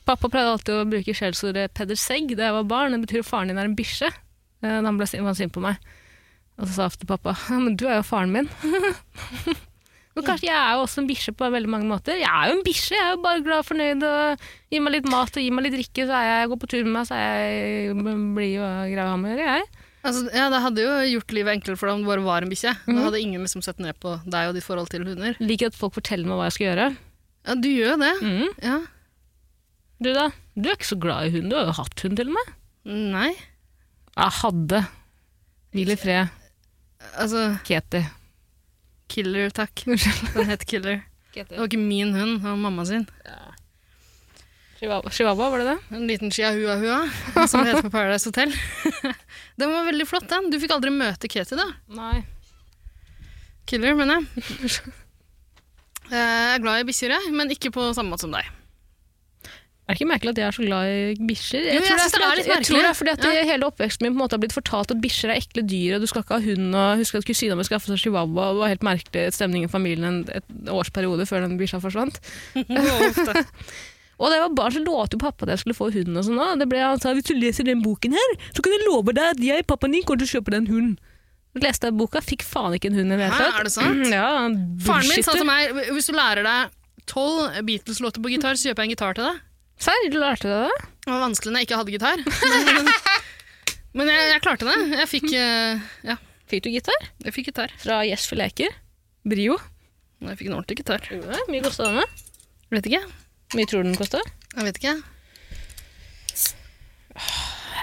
A: Pappa pleide alltid å bruke skjellsordet 'Peder Segg' da jeg var barn. Det betyr at faren din er en bikkje. Eh, Da han ble sin- var sint på meg. Og så sa jeg til pappa ja, 'men du er jo faren min'. Men kanskje jeg er jo også en bikkje på veldig mange måter. Jeg er jo en bikkje, jeg er jo bare glad og fornøyd. og Gi meg litt mat og gi meg litt drikke, så er jeg, jeg går på tur med meg, så er jeg blid og grei å ha med å gjøre, jeg.
B: Altså, ja, Det hadde jo gjort livet enklere for deg om du bare var en bikkje. Da hadde ingen liksom sett ned på deg og ditt forhold til hunder.
A: Liker at folk forteller meg hva jeg skal gjøre.
B: Ja, Du gjør jo det.
A: Mhm.
B: Ja.
A: Du da? Du er ikke så glad i hund, du har jo hatt hund til og med.
B: Nei.
A: Jeg hadde. Hvil i fred,
B: Altså,
A: Keti.
B: Killer, takk. Den het Killer. Det var ikke min hund, det var mamma sin.
A: Chihuahua, Chihuahua, var det det?
B: En liten chihuahua, som det heter på Paradise Hotel. den var veldig flott, den. Du fikk aldri møte Katie, da.
A: Nei.
B: Killer, mener jeg. Eh, Jeg er glad i bikkjer, jeg, men ikke på samme måte som deg.
A: Er det ikke merkelig at jeg er så glad i bikkjer?
B: Jo, jeg synes det er
A: fordi at-
B: litt
A: jeg tror det er fordi at
B: merkelig.
A: jeg- hele oppveksten min på en måte har blitt fortalt at bikkjer er ekle dyr, og du skal ikke ha hund, og husker at kusina mi skaffet seg chihuahua, og det var helt merkelig stemning i familien en et års periode før den bikkja forsvant.
B: Ofte.
A: Og da jeg var barn, så lovte jo pappa at jeg skulle få hund og sånn. og Det ble han sa, hvis du leser den boken her, så kan jeg love deg at jeg, pappaen din, kommer til å kjøpe den hunden. Så leste jeg boka, fikk faen ikke en hund i det hele
B: Hæ,
A: tatt.
B: er det sant?
A: Ja, han
B: Faren min sa
A: bullshitter.
B: til meg hvis du lærer deg tolv Beatles-låter på gitar, så kjøper jeg en gitar til deg.
A: Serr, du lærte deg det?
B: Det var vanskelig når jeg ikke hadde gitar. Men, men jeg, jeg klarte det. Jeg fikk, eh, ja,
A: Fikk du gitar?
B: jeg fikk gitar.
A: Fra Yes for leker? Brio?
B: Men Jeg fikk en ordentlig gitar.
A: Jo, det er Mye kosta denne?
B: Vet ikke.
A: Mye tror du den kosta?
B: Jeg vet ikke.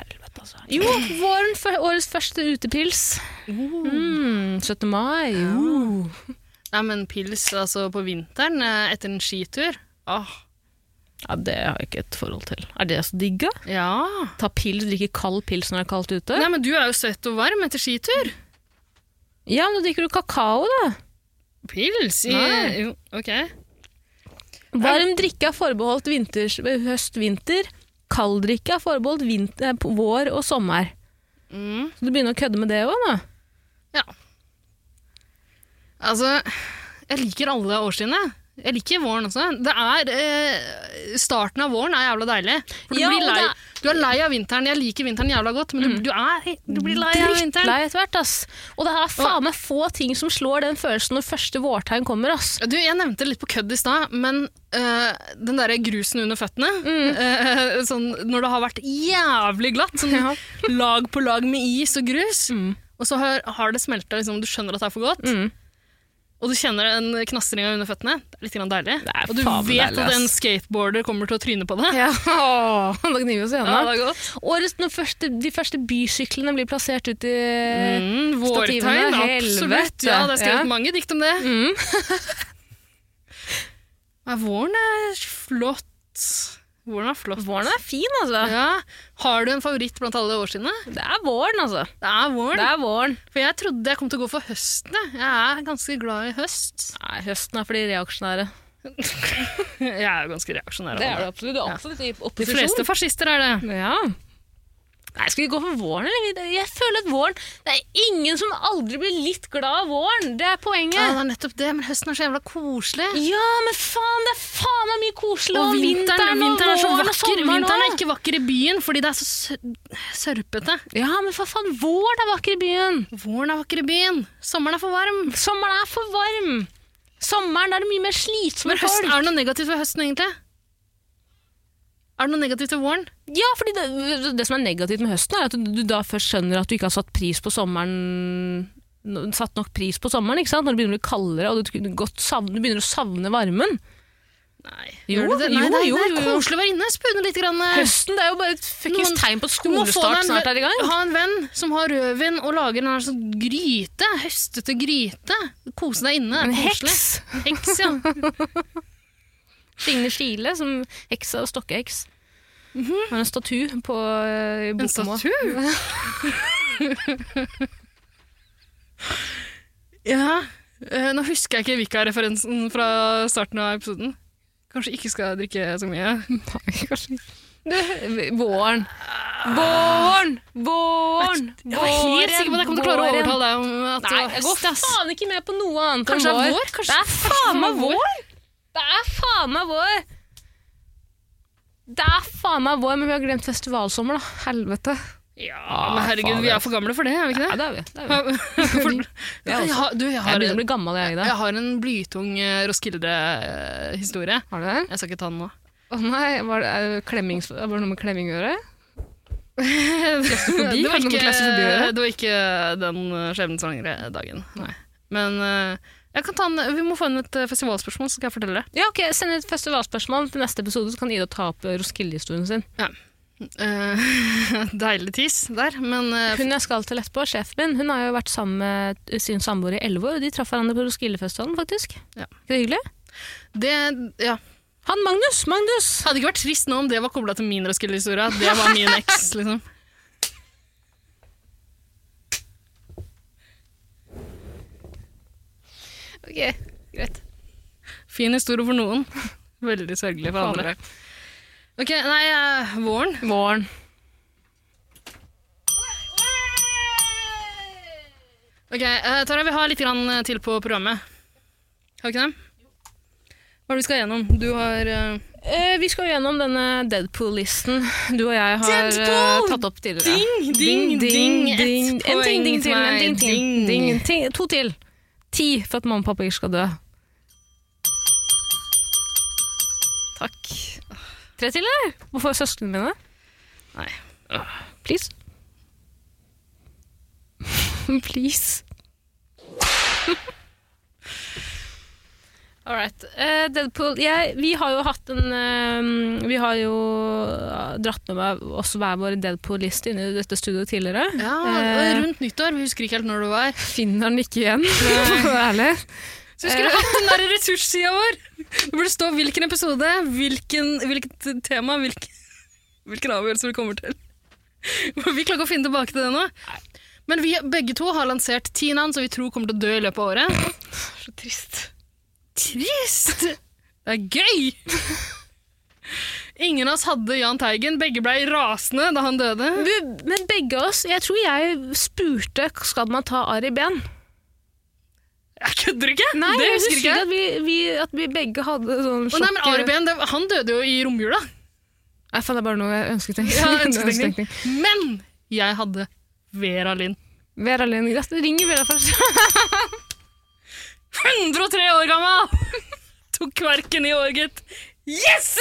A: Helvete, altså. Jo, våren for årets første utepils. Mm, 17. mai. Uh.
B: Nei, men pils altså, på vinteren eh, etter en skitur Ah, Åh,
A: Ja, det har jeg ikke et forhold til. Er det så digg, da?
B: ja.
A: Ta pils, drikke kald pils når det er kaldt ute?
B: Nei, men du er jo søt og varm etter skitur.
A: Ja, men da drikker du kakao, da.
B: Pils? I,
A: Nei.
B: jo, ok.
A: Varm drikke er forbeholdt vinters, høst-vinter. Kald drikke er forbeholdt vint- eh, på vår og sommer.
B: Mm.
A: Så du begynner å kødde med det òg, da.
B: Ja. Altså, jeg liker alle årstidene. Jeg liker våren også. Det er, eh, starten av våren er jævla deilig. For du,
A: Ja,
B: blir
A: og
B: lei,
A: det Mm.
B: du er lei av vinteren. Jeg liker vinteren jævla godt, men du, du, er, du blir lei av vinteren.
A: Drittlei etter hvert, ass. Og det er faen meg få ting som slår den følelsen når første vårtegn kommer, ass.
B: Du, jeg nevnte det litt på kødd i stad, men eh, den derre grusen under føttene
A: Mm.
B: eh, sånn, Når det har vært jævlig glatt, sånn
A: Ja. Mm.
B: lag på lag med is og grus, og så har, har det smelta, liksom, du skjønner at det er for godt, og du kjenner den knastringa under føttene, det er litt grann deilig.
A: Det er
B: og du
A: faen meg
B: vet
A: deilig,
B: at en
A: ass.
B: skateboarder kommer til å tryne på det.
A: Ja, da gnir vi oss i
B: Ja,
A: henda.
B: det er godt.
A: Årets når første, de første bysyklene blir plassert ut i
B: Mm, vårtegn,
A: Stativene,
B: absolutt.
A: helvete.
B: Ja, det er
A: Ja.
B: skrevet
A: Mm.
B: mange dikt om det. Nei, våren er flott. Våren er flott.
A: Våren er fin, altså.
B: Ja. Har du en favoritt blant alle årsidene?
A: Det er våren, altså.
B: Det er
A: Det
B: våren.
A: er våren.
B: For jeg trodde jeg kom til å gå for høsten. jeg. Jeg er ganske glad i høst.
A: Nei, høsten er for de reaksjonære.
B: Jeg er jo ganske reaksjonær. av alle.
A: absolutt. Du er absolutt i
B: De fleste fascister er det.
A: Ja. Nei, skal vi gå for våren, eller? Jeg føler at våren Det er ingen som aldri blir litt glad av våren. Det er
B: Ja,
A: poenget.
B: det er nettopp det, men høsten er så jævla koselig.
A: Ja, men faen, det er faen meg mye koselig.
B: Og vinteren, vinteren er så
A: våren og
B: vakker.
A: sommeren
B: Vinteren er
A: også.
B: ikke vakker i byen fordi det er så sø- sørpete.
A: Ja, men for faen, våren er vakker i byen.
B: Våren er vakker i byen. Sommeren er for varm.
A: Sommeren er for varm. Sommeren er det mye mer slitsomme
B: Men
A: folk.
B: høsten, er det noe negativt ved høsten, egentlig? Er det noe negativt ved våren?
A: Ja, fordi det, det som er negativt med høsten, er at du, du da først skjønner at du ikke har satt pris på sommeren no- satt nok pris på sommeren, ikke sant? Når det begynner å bli kaldere, og du, kunne godt savne, du begynner å savne varmen.
B: Nei.
A: Jo,
B: Gjør du det? Nei,
A: jo, jo,
B: det, er- det
A: jo,
B: er
A: jo.
B: koselig å være inne. Spune litt. Grann.
A: Høsten det er jo bare et fuckings
B: Noen-
A: tegn på at
B: Du må få deg
A: skolestart
B: en
A: snart er i gang.
B: venn- Ha en venn som har rødvin og lager en sånn gryte. Høstete gryte. Kose deg inne.
A: En
B: det er koselig.
A: heks.
B: En heks, ja.
A: Signe Skile, som heksa og stokkeheks. Har en statue på eh,
B: Mhm. En
A: Bokmoa.
B: statue. ja. eh, Nå husker jeg ikke Vika-referensen fra starten av episoden. Kanskje ikke skal drikke så mye.
A: Du, Våren. Våren! Våren!
B: Jeg var helt sikker på at jeg kom til å klare å
A: Våren!
B: overtale deg om
A: Nei,
B: at det
A: jeg
B: var
A: går
B: høst. ass.
A: faen ikke med på noe annet
B: Kanskje
A: enn
B: det er
A: vår.
B: vår? Kanskje-
A: det er faen meg
B: kanskje det er
A: vår! Det er faen meg vår! Det er faen meg vår, men vi har glemt festivalsommer, da. Helvete.
B: Ja, men herregud, vi er for gamle for det, er vi ikke
A: Ja, det er vi.
B: det?
A: Det er vi.
B: For, jeg, har- du, jeg
A: Jeg
B: har,
A: begynner å bli gammel, jeg, Ida.
B: jeg har en blytung eh, Roskilde-historie.
A: Har du det?
B: Jeg skal ikke ta den nå.
A: Å nei, var det, eh, klemmings, var det noe med klemming å gjøre?
B: Klaustrofobi?
A: Hadde noe med klaustrofobi å gjøre?
B: det var ikke den eh, skjebnesvangre dagen. Nei. Men eh, jeg kan ta en, vi må få inn et eh, festivalspørsmål, så skal jeg fortelle det.
A: Ja, ok, Send et festivalspørsmål til neste episode, så kan Ida ta opp eh, Roskilde-historien sin.
B: Eh, deilig tis der, men eh,
A: Hun jeg skal til etterpå, sjefen min, hun har jo vært sammen med eh, sin samboer i elleve år, og de traff hverandre på Roskildefestivalen, faktisk.
B: Ja.
A: Ikke det hyggelig?
B: det ja.
A: Han Magnus! Magnus!
B: hadde ikke vært trist nå om det var kobla til min Roskilde-historie. at Det var min eks, liksom.
A: Ok, greit.
B: Fin historie for noen. Veldig sørgelig for andre. Ok, nei, eh, våren.
A: Våren.
B: Ok, eh, Tara, vi har litt grann eh, til på programmet. Har vi ikke det? Hva er det vi skal gjennom? Du har eh,
A: Eh, vi skal jo gjennom denne Deadpool-listen du og jeg har eh,
B: Deadpool!
A: tatt opp tidligere.
B: Ding,
A: ding,
B: ding, ding.
A: ding.
B: Ett
A: En ting, ding
B: poeng til
A: til. En
B: meg.
A: ting, til.
B: Ding.
A: ding. ting, to til. Ti for at mamma og pappa ikke skal dø.
B: Takk.
A: Tre til, eller? Hvorfor søsknene mine?
B: Nei.
A: Please. Please. All right. Eh, Deadpool jeg, Vi har jo hatt en eh, Vi har jo dratt med meg oss hver vår Deadpool-liste inn i dette studioet tidligere.
B: Ja,
A: Eh,
B: og rundt nyttår. Vi husker ikke helt når det var.
A: finner den ikke igjen, for å være ærlig.
B: Så vi skulle hatt den der ressurssida vår! Det burde stå hvilken episode, hvilken, hvilket tema, hvilken, hvilken avgjørelse vi kommer til. For Vi klarer ikke å finne tilbake til det nå. Men vi begge to har lansert ti navn som vi tror kommer til å dø i løpet av året. Så trist. Trist! Det er gøy! Ingen av oss hadde Jahn Teigen. Begge blei rasende da han døde.
A: Vi- Men begge oss Jeg tror jeg spurte skal man ta Ari Ben.
B: Jeg kødder ikke!
A: Nei,
B: det
A: jeg
B: husker
A: husker
B: ikke
A: ikke at vi, vi, at vi begge hadde sånn
B: Å,
A: sjokk...
B: nei, men Ari Behn, det- han døde jo i romjula.
A: Nei, faen, det er bare noe jeg ønsketenkning.
B: Ja, ønsketenkning. Men jeg hadde Vera Lind.
A: Vera Lind, greit, vi ringer Vera først.
B: 103 år gammel! Tok kverken i år, gitt. Yes!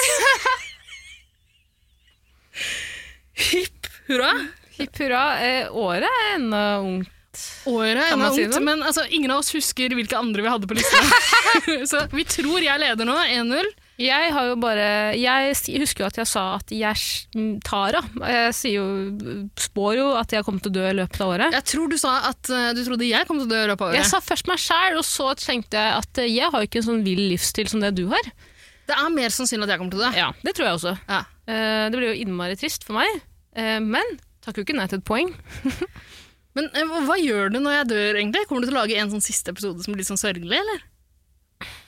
B: Hipp hurra.
A: Hipp hurra. Eh, året er ennå ungt.
B: Året
A: Kan
B: er
A: man si
B: ungt,
A: det?
B: men altså, ingen av oss husker hvilke andre vi hadde på lista. Så vi tror jeg leder nå, 1-0.
A: Jeg har jo bare Jeg s- husker jo at jeg sa at jeg s- m, Tara. Jeg sier jo, spår jo at jeg kommer til å dø i løpet av året.
B: Jeg tror du sa at eh, du trodde jeg kom til å dø i løpet av
A: Jeg
B: året.
A: sa først meg sjæl, og så tenkte jeg at eh, jeg har jo ikke en sånn vill livsstil som det du har.
B: Det er mer sannsynlig at jeg kommer til å dø.
A: Ja, Det tror jeg også.
B: Ja.
A: Eh, det blir jo innmari trist for meg, eh, men takker jo ikke nei til et poeng.
B: Men eh, hva- hva gjør du når jeg dør, egentlig? Kommer du til å lage en sånn siste episode som blir litt sånn sørgelig, eller?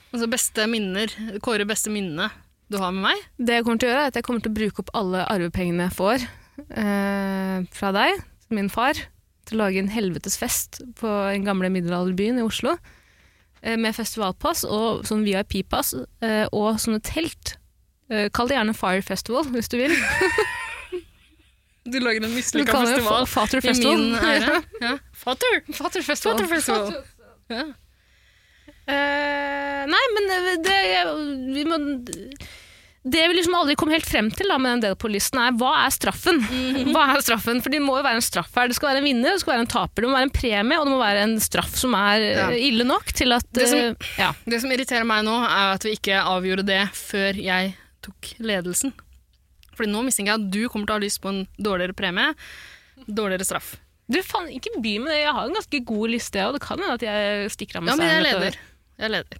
B: Altså beste minner, Kåre beste minnene du har med meg?
A: Det jeg kommer til å gjøre, er at jeg kommer til å bruke opp alle arvepengene jeg får eh, fra deg, min far, til å lage en helvetes fest på den gamle middelalderbyen i Oslo. eh, Med festivalpass og sånn VIP-pass eh, og sånne telt. Eh, Kall det gjerne Fire Festival hvis du vil.
B: Du lager en
A: Du
B: mislykka
A: kaller det
B: festival
A: Fa- Fater
B: i
A: Festival.
B: min ære. Ja. Fatter!
A: Fater Festival.
B: Fatter festival. Ja.
A: Eh, nei, men det- det vi må, Det vi liksom aldri kom helt frem til da, med den Deadpool-listen, er hva er straffen? Hva er straffen? For det må jo være en straff her. Det skal være en vinner, det skal være en taper, det må være en premie, og det må være en straff som er eh,
B: Ja.
A: ille nok til at
B: Det som-
A: eh, ja.
B: Det som irriterer meg nå, er at vi ikke avgjorde det før jeg tok ledelsen. Fordi nå mistenker jeg at du kommer til å ha lyst på en dårligere premie, dårligere straff.
A: Du, faen, ikke by med det. Jeg har en ganske god liste, jeg, og det kan hende at jeg stikker av med
B: Ja, men jeg
A: seieren dette
B: leder. Jeg leder.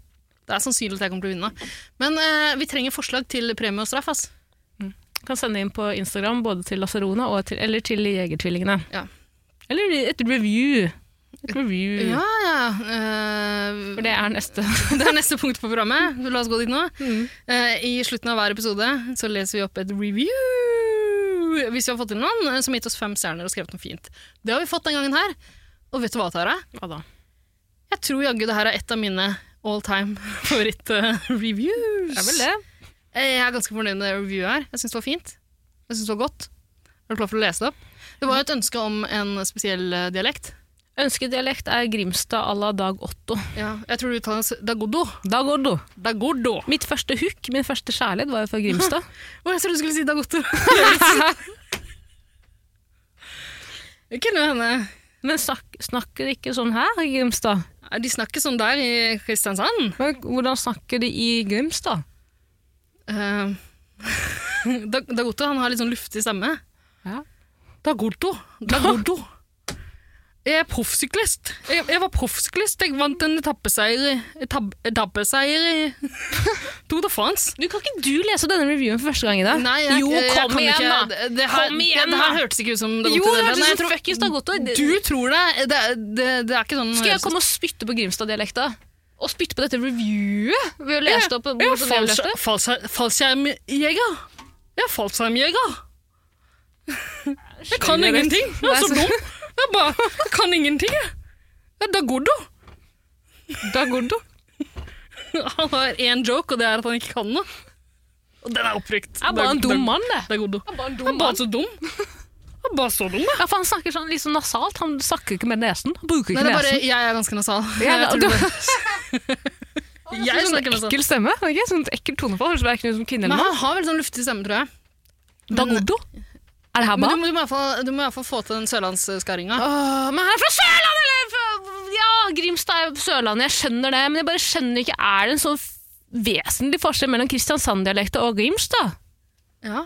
B: Det er sannsynlig at jeg kommer til å vinne. Men eh, vi trenger forslag til premie og straff. Ass.
A: året. Kan sende inn på Instagram både til Lasarona og til, eller til Jegertvillingene.
B: Ja.
A: Eller et review. Et review.
B: Ja, ja. eh,
A: For det er neste.
B: det er neste punkt på programmet. La oss gå dit nå.
A: Mm.
B: Eh, I slutten av hver episode så leser vi opp et review. Hvis vi har fått til noen eh, som har gitt oss fem stjerner og skrevet noe fint. Det har vi fått den gangen her. Og vet du hva, Tara?
A: Hva da?
B: Jeg tror jaggu det her er et av mine all time favoritt-reviews.
A: Det er vel det.
B: Eh, Jeg er ganske fornøyd med det reviewet her. Jeg syns det var fint. Jeg synes det var godt. Er du klar for å lese det opp? Det var jo et ønske om en spesiell eh, dialekt.
A: Ønskedialekt er Grimstad à la Dag Otto.
B: Ja, jeg tror du uttaler det dagodo.
A: Dag Otto.
B: Dagodo.
A: Mitt første hook, min første kjærlighet, var jo fra Grimstad.
B: Å, jeg trodde du skulle si dagodo.
A: sånn.
B: Det kunne jo hende.
A: Men snak, snakker de ikke sånn her i Grimstad?
B: Ja, De snakker sånn der i Kristiansand.
A: Men hvordan snakker de i Grimstad?
B: Eh, Dag- Dagoto han har litt sånn luftig stemme.
A: Ja.
B: Dagoto. Dagoto. Jeg er proffsyklist. Jeg, jeg var proffsyklist. Jeg vant en etappeseier i etab- Etappeseier i Tour de France.
A: Du Kan ikke du lese denne reviewen for første gang i dag?
B: Nei, jeg,
A: jo,
B: jeg, jeg
A: kom
B: kan
A: igjen,
B: ikke.
A: da!
B: Det, det her,
A: Kom igjen,
B: det, det her
A: da!
B: hørtes ikke ut som Dagoto.
A: Jo, det
B: hele
A: hørtes
B: tatt.
A: ut som
B: Nei, jeg
A: fuckings Dagoto.
B: tror- Du tror det. Det, det, det er ikke sånn
A: Skal jeg komme og spytte på Grimstad-dialekta? Og spytte på dette reviewet? Ved å lese det opp på
B: Jeg
A: bordet
B: er
A: på
B: fallsk-
A: dialektet?
B: fallsk- fallskjermjeger. Jeg er fallskjermjeger. Jeg kan
A: Skjønner du?
B: ingenting. Jeg er så dum. Jeg bare jeg kan ingenting. jeg. Jeg er Dagodo.
A: Dagodo.
B: Han har én joke, og det er at han ikke kan noe. Og den er opprykt.
A: Er bare en dum mann, det.
B: Dagodo.
A: Er bare en
B: Han er
A: dum
B: bare
A: mann.
B: så dum. Han er bare så dum, jeg.
A: Ja, for han snakker sånn litt sånn nasalt. Han snakker ikke med nesen. Han bruker
B: Nei,
A: ikke
B: det er bare,
A: nesen.
B: jeg er ganske nasal.
A: Ja,
B: Jeg,
A: da-
B: tror det. jeg
A: Sånn
B: snakker nasal.
A: ekkel stemme. Ikke? Sånn ekkel tonefall. Høres verken ut som kvinne
B: Men
A: eller mann.
B: han har veldig sånn luftig stemme, tror jeg.
A: Dagodo? Er det her
B: Men
A: bra?
B: du må, du må i hvert fall- du må i hvert fall få til den sørlandsskaringa.
A: Åh, men han er fra Sørlandet! Eller? fra- Ja, Grimstad er jo på Sørlandet, jeg skjønner det. Men jeg bare skjønner ikke, er det en sånn f- vesentlig forskjell mellom Kristiansand-dialekta og Grimstad?
B: Ja.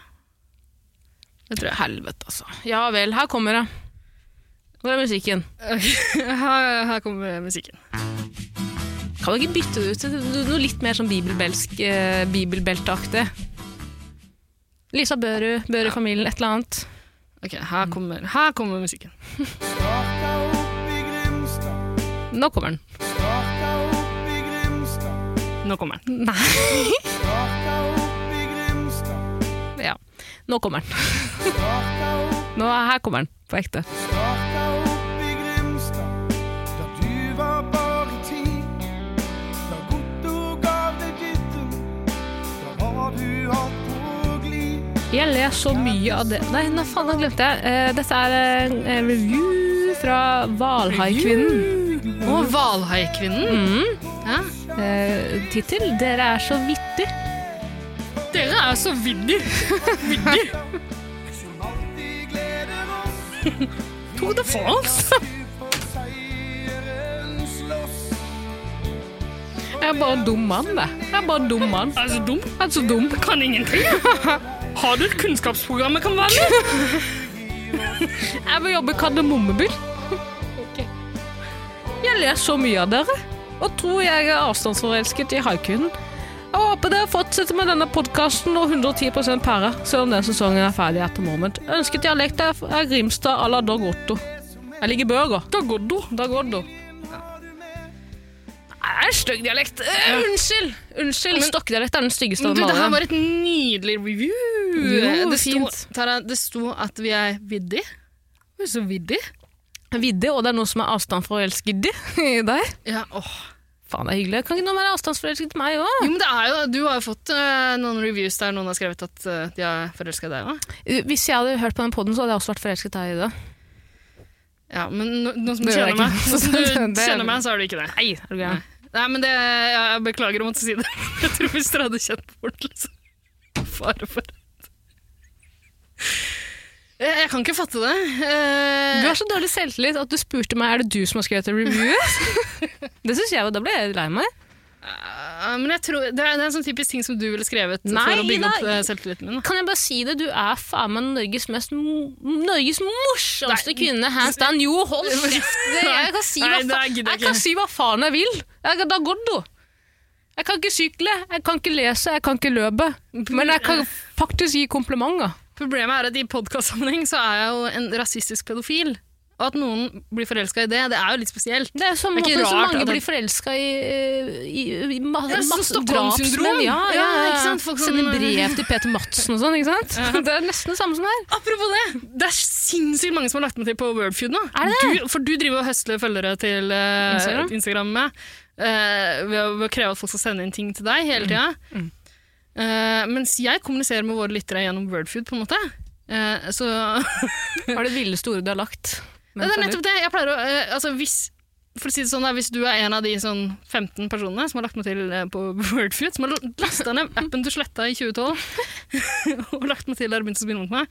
B: Det tror jeg.
A: Helvete, altså. Ja vel, her kommer det. Hvor er musikken?
B: Ok, her, her kommer musikken.
A: Kan du ikke bytte det ut til noe litt mer sånn bibelbelsk, eh, bibelbelteaktig? Lisa Børud, Børud-familien, et eller annet.
B: Ok, her kommer, her kommer musikken.
D: Starta opp i Grimstad,
A: Nå kommer den.
D: starta opp i Grimstad,
B: Nå kommer den.
A: Nei.
D: starta opp i Grimstad,
A: Ja. Nå kommer den.
D: starta opp,
A: Nå, her kommer den, på ekte.
D: starta opp i Grimstad. Da du var bare ti, da Gotto gav deg dytten, da var du opp på glid.
A: Jeg ler så mye av det Nei, nå faen, nå glemte jeg. Eh, dette er eh, en review fra Hvalhaikvinnen.
B: Og Valhaikvinnen.
A: Mm.
B: Ja.
A: Eh, Tittel 'Dere er så vittig'.
B: Dere er så viddig. Viddig.
D: Som alltid gleder oss,
B: Tour de France.
D: du for seieren slåss.
A: Jeg er bare en dum mann, det. Jeg er bare en dum mann.
B: Er så Altså dum.
A: Jeg er så dum.
B: Kan ingenting. Har du et kunnskapsprogram jeg kan være med i?
A: Jeg vil jobbe i kardemommebil. Jeg ler så mye av dere, og tror jeg er avstandsforelsket i haikunen. Jeg håper dere fortsetter med denne podkasten og 110 pære, selv om den sesongen er ferdig etter moment. Ønsket dialekt er er Grimstad à la Dag Otto. Jeg ligger i Børger. Dag Oddo. Dag Oddo. Nei, det er en stygg dialekt. Eh, unnskyld! Unnskyld, Stokkedialekt er den styggeste av
B: Du,
A: dem
B: det her
A: alle.
B: var et nydelig review.
A: Jo,
B: det, sto,
A: fint.
B: Tara, det sto at vi er viddig. Vi er så viddig.
A: Vidde, og det er noe som er avstandsforelsket i deg.
B: Ja, åh.
A: Faen, det er hyggelig. Kan ikke noen være avstandsforelsket i meg òg?
B: Jo, men det er jo, du har jo fått eh, noen reviews der noen har skrevet at eh, de er forelska i deg òg.
A: Eh, Hvis jeg hadde hørt på den podden, så hadde jeg også vært forelsket her i det.
B: Ja, men no, noen som
A: Det gjør jeg
B: kjenner meg,
A: ikke.
B: noen som du
A: Det- det-
B: kjenner meg, så er du ikke det. Nei,
A: Er du gæren?
B: Nei men det, jeg, jeg beklager å måtte si det. Jeg tror hvis dere hadde kjent på det, liksom. Fare for det. Jeg, jeg kan ikke fatte det.
A: Du
B: Eh,
A: har så dårlig selvtillit at du spurte meg er det du som har skrevet reviewet. det syns jeg, og da ble jeg lei meg.
B: eh, men jeg tror, det, er, det er en sånn typisk ting som du ville skrevet
A: Nei,
B: for å bygge opp
A: nei.
B: eh, selvtilliten min. da.
A: Kan jeg bare si det? Du er faen meg Norges mest mo- Norges morsomste
B: Nei.
A: kvinne, hands down. Jo, hold kjeft! Det- Jeg kan si hva,
B: Nei, det
A: fa
B: er- gidder jeg
A: jeg kan
B: ikke.
A: si hva faen jeg vil. Jeg kan da goddo. Jeg kan ikke sykle, jeg kan ikke lese, jeg kan ikke løpe. Men jeg kan faktisk gi komplimenter.
B: Problemet er at i podkastsammenheng så er jeg jo en rasistisk pedofil. Og at noen blir forelska i det, det er jo litt spesielt.
A: Det er sånn
B: Det er ikke
A: måten som
B: rart
A: mange
B: at det-
A: blir forelska i, eh, i, i ma
B: Ja, sånn
A: masse
B: Stockholm-syndrom.
A: drapsmenn. Ja, ja,
B: Ja,
A: ikke
B: ikke sant?
A: sant?
B: Folk som-
A: Sender brev til Peter Madsen og sånn. ikke sant? Det er nesten det samme som her.
B: Apropos det, det er sinnssykt mange som har lagt meg til på Wordfeud nå.
A: Er det det?
B: Du, for du driver og høsler følgere til eh,
A: Instagram?
B: Instagram med, eh, ved, å- ved å kreve at folk skal sende inn ting til deg
A: Mm.
B: hele tida. Eh, mens jeg kommuniserer med våre lyttere gjennom Wordfeud, på en måte. Eh, så
A: Hva er det villeste ordet du har lagt?
B: Det er nettopp det. Jeg pleier å eh, altså, hvis, For å si det sånn, da, hvis du er en av de sånn 15 personene som har lagt meg til eh, på Wordfeud, som har lasta ned appen du sletta i 2012 og lagt meg til der og begynt å spille mot meg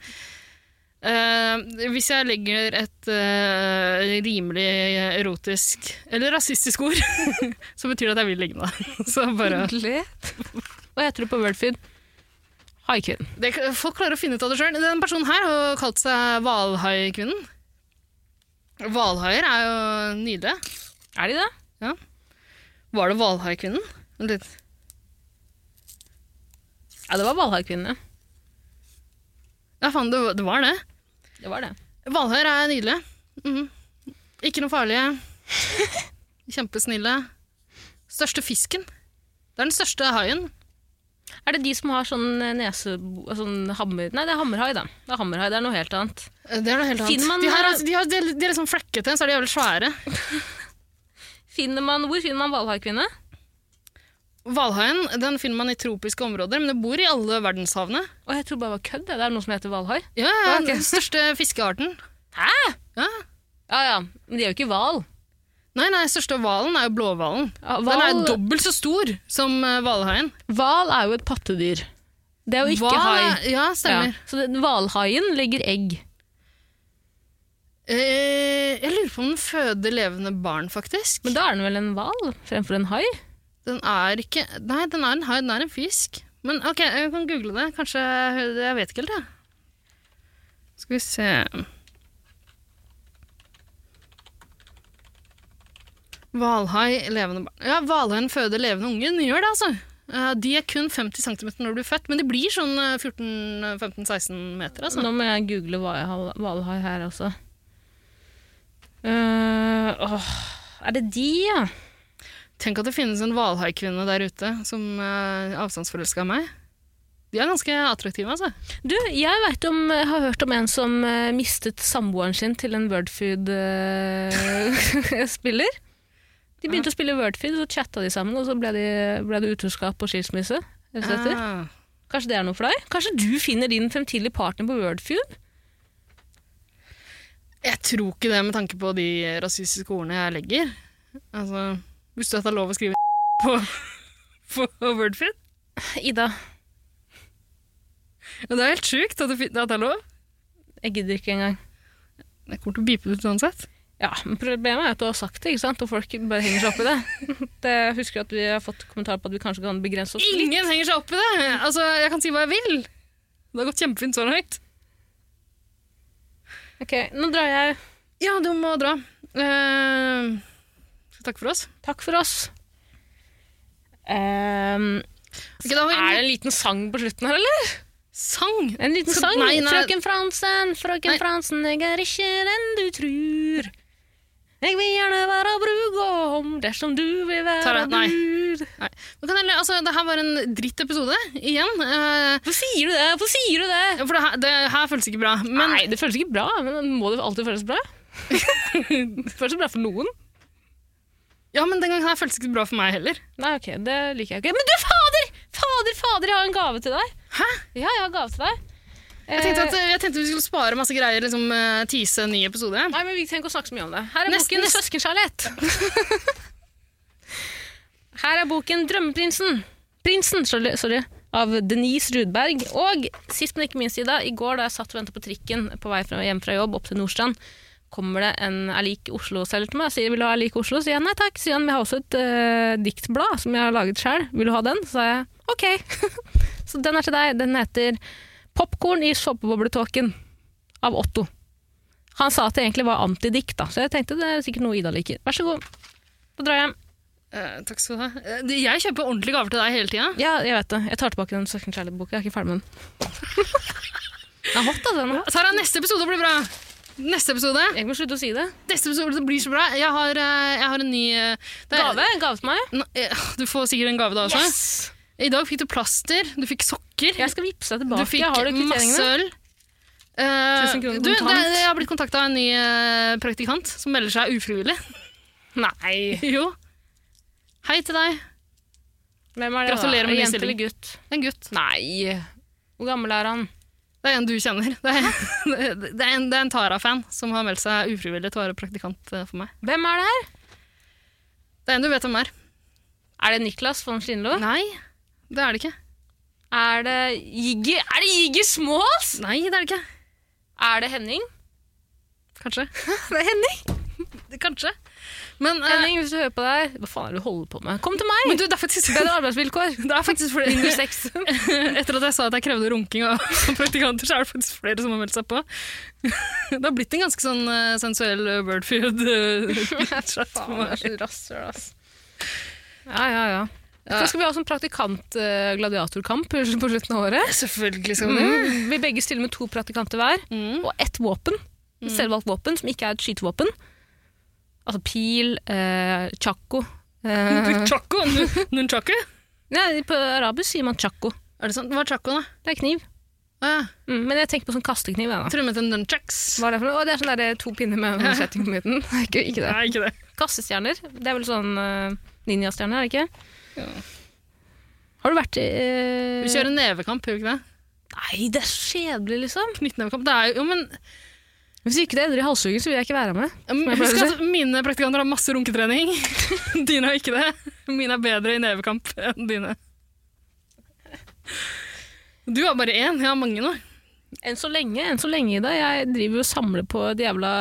B: Eh, hvis jeg legger et eh, rimelig erotisk eller rasistisk ord, så betyr det at jeg vil ligge med deg. Så bare
A: Hva heter du på Wordfeed? Haikvinnen.
B: Det, folk klarer å finne ut av det sjøl. Den personen her har jo kalt seg hvalhaikvinnen. Hvalhaier er jo nydelige.
A: Er de det?
B: Var det hvalhaikvinnen? Vent litt.
A: Ja, det var Valhaikvinnene.
B: Ja, faen, det, det var det.
A: Det var det.
B: Hvalhaier er nydelige. Mhm. Ikke noe farlige. Kjempesnille. Største fisken. Det er den største haien.
A: Er det de som har sånn nese... Sånn hammer... Nei, det er hammerhai, da. Det er hammerhai, det er noe helt annet.
B: Eh, Det er noe helt annet.
A: Finner man-
B: de, har, altså- de, har, de, er- de er liksom flekkete, så er de jævlig svære.
A: Finner man, hvor finner man hvalhaikvinne?
B: Hvalhaien den finner man i tropiske områder, men det bor i alle verdenshavene.
A: Å, jeg tror bare det var kødd. jeg. Det er noe som heter hvalhai.
B: Ja, ja,
A: Ok.
B: Den største fiskearten.
A: Hæ?
B: Ja.
A: Ja ja, men de er jo ikke hval.
B: Nei, nei, største hvalen er jo blåhvalen.
A: Ja,
B: Den er
A: hval-
B: dobbelt så stor som eh, hvalhaien.
A: Hval er jo et pattedyr. Det er jo ikke
B: Hval
A: hai.
B: er- Ja, stemmer.
A: Ja, Så den- hvalhaien legger egg.
B: Eh, jeg lurer på om den føder levende barn, faktisk.
A: Men da er den vel en hval fremfor en hai?
B: Den er ikke Nei, den er en hai, den er en fisk. Men ok, jeg kan google det. Kanskje Jeg vet ikke helt, jeg. Skal vi se Hvalhai, levende barn Ja, hvalhaien føder levende unge. Den gjør det, altså. Eh, De er kun 50 cm når de blir født, men de blir sånn 14-15-16 meter, altså.
A: Nå må jeg google hva jeg har- hvalhai her også. Eh, åh, er det de, ja?
B: Tenk at det finnes en hvalhaikvinne der ute som eh, avstandsforelska meg. De er ganske attraktive, altså.
A: Du, jeg vet om, jeg har hørt om en som eh, mistet samboeren sin til en Wordfeud-spiller. de begynte å spille Wordfeud, så chatta de sammen, og så ble, de, ble det utroskap og skilsmisse. rett etter.
B: Ah.
A: Kanskje det er noe for deg? Kanskje du finner din fremtidige partner på Wordfeud?
B: Jeg tror ikke det med tanke på de rasistiske ordene jeg legger. Altså, hvis du at det er lov å skrive på, på Wordfeed.
A: Ida,
B: Ja, Det er helt sjukt at det, fin- at det er lov.
A: jeg gidder ikke engang.
B: Jeg kommer til å bipe det ut uansett.
A: Ja, men Problemet er at du har sagt det, ikke sant? og folk bare henger seg opp i det. det. Jeg husker at vi har fått kommentarer på at vi kanskje kan begrense oss litt.
B: Ingen henger seg opp i det! Altså, Jeg kan si hva jeg vil. Det har gått kjempefint så langt.
A: Ok, Nå drar jeg.
B: Ja, du må dra. Eh, skal vi takke for oss?
A: Takk for oss. Ehm,
B: Ok, da har vi
A: er det en liten sang på slutten her, eller?
B: sang.
A: En liten
B: Skal-
A: sang?
B: nei, nei.
A: Frøken Fransen, frøken
B: Nei.
A: Fransen, jeg er ikke den du trur. Jeg vil gjerne være brudgom dersom du vil være
B: Tara, nei.
A: brud.
B: Men Kan jeg, altså, det her var en drittepisode, igjen. Eh,
A: Hvorfor sier du det? Hvorfor sier du det?
B: for det her, det her føles ikke bra. Men
A: Nei, det føles ikke bra, men må det alltid føles bra? det føles bra for noen.
B: Ja, men den gangen her føltes ikke bra for meg heller.
A: Nei, ok, det liker jeg ikke. Men du, fader! Fader, fader, jeg har en gave til deg.
B: Hæ?
A: Ja, jeg har en gave til deg.
B: Jeg tenkte,
A: Eh.
B: at, jeg tenkte vi skulle spare masse greier, liksom eh, tease en ny episode.
A: Nei, men vi trenger ikke å snakke så mye om det. Her er
B: Nesten-
A: boken Søskenkjærlighet. Her er boken Drømmeprinsen. Prinsen, sorry, sorry, av Denise Rudberg. Og sist, men ikke minst, Ida, i går da jeg satt og ventet på trikken på vei fra, hjem fra jobb opp til Nordstrand, kommer det en Er lik Oslo-selger til meg og sier vil du ha Er lik Oslo? Sier jeg nei takk. Sier han vi har også et eh, diktblad som jeg har laget sjøl, vil du ha den? Så sa jeg ok. så den er til deg. Den heter Popkorn i såpebobletåken av Otto. Han sa at det egentlig var antidikt, da, så jeg tenkte det er sikkert noe Ida liker. Vær så god. Da drar jeg.
B: Eh, takk skal du ha. Eh, det- jeg kjøper ordentlige gaver til deg hele tida.
A: Ja, jeg vet det. Jeg tar tilbake den Søsken Charlie-boka. Jeg er ikke ferdig med den. den er hot, altså. Den er hot.
B: Tara, neste episode blir bra! Neste episode.
A: Jeg må slutte å si det.
B: Neste episode blir så bra. Jeg har, eh, jeg har en ny eh, det er-
A: Gave. Gave til meg.
B: Nå, eh, Du får sikkert en gave da også. I dag fikk du plaster, du fikk sokker,
A: Jeg skal vippse deg
B: du
A: tilbake.
B: fikk
A: Har du
B: masse
A: kvitteringene?
B: øl. Eh,
A: Tusen kroner
B: du, det,
A: kontant.
B: jeg har blitt kontakta av en ny eh, praktikant som melder seg ufrivillig.
A: Nei.
B: Jo. Hei til deg.
A: Hvem er det? da?
B: Gratulerer med ny
A: Jente
B: stilling.
A: eller gutt?
B: En gutt.
A: Nei. Hvor gammel er han?
B: Det er en du kjenner. Det er, det er en, det er en Tara-fan som har meldt seg ufrivillig til å være praktikant eh, for meg.
A: Hvem er det her?
B: Det er en du vet hvem er.
A: Er det Niklas von Schlinlo?
B: Nei, det er det ikke.
A: Er det Jiggy? Er det Jiggy Smalls?
B: Nei, det er det ikke.
A: Er det Henning?
B: Kanskje.
A: Det er Henning.
B: Kanskje. Men, eh,
A: Henning, hvis du hører på det her, hva faen er det du holder på med? Kom til meg!
B: men du, det er faktisk
A: Bedre arbeidsvilkår!
B: Det er faktisk
A: Mindre
B: flere
A: sex.
B: Etter at jeg sa at jeg krevde runking av praktikanter, så er det faktisk flere som har meldt seg på. Det har blitt en ganske sånn eh, sensuell eh, Birdfeud eh, chat for meg.
A: Ja, ja, ja. Så skal vi ha sånn praktikant-gladiatorkamp på slutten av året.
B: Selvfølgelig skal vi det.
A: Mm. Vi begge stiller med to praktikanter hver,
B: Mm.
A: og ett våpen. Selvvalgt våpen, som ikke er et skytevåpen. Altså pil, eh, chakko eh,
B: Chaco? nun- Nunchaku?
A: Nei, på arabisk sier man chakko.
B: Er det sant? Hva er chaco, da?
A: Det er kniv.
B: Å ja.
A: Mm, men jeg tenker på sånn kastekniv. jeg, da.
B: Tror du det heter nunchucks?
A: Hva er det for noe? Å, det er sånn der, eh, to pinner med en setting på midten. ikke, ikke det.
B: Nei, ikke det.
A: Kassestjerner. Det er vel sånn uh, ninjastjerner, er det ikke?
B: Ja.
A: Har du vært uh,
B: Vi kjører nevekamp, gjør vi ikke det?
A: Nei, det er så kjedelig, liksom.
B: Knyttnevekamp. Det er jo, jo men,
A: Hvis ikke det ender i halshuggen, så vil jeg ikke være med. jeg pleier
B: husk
A: å
B: at mine praktikanter har masse runketrening. dine har ikke det. Mine er bedre i nevekamp enn dine. Du har bare én, jeg har mange nå.
A: Enn så lenge, enn så lenge Ida. Jeg driver jo og samler på et jævla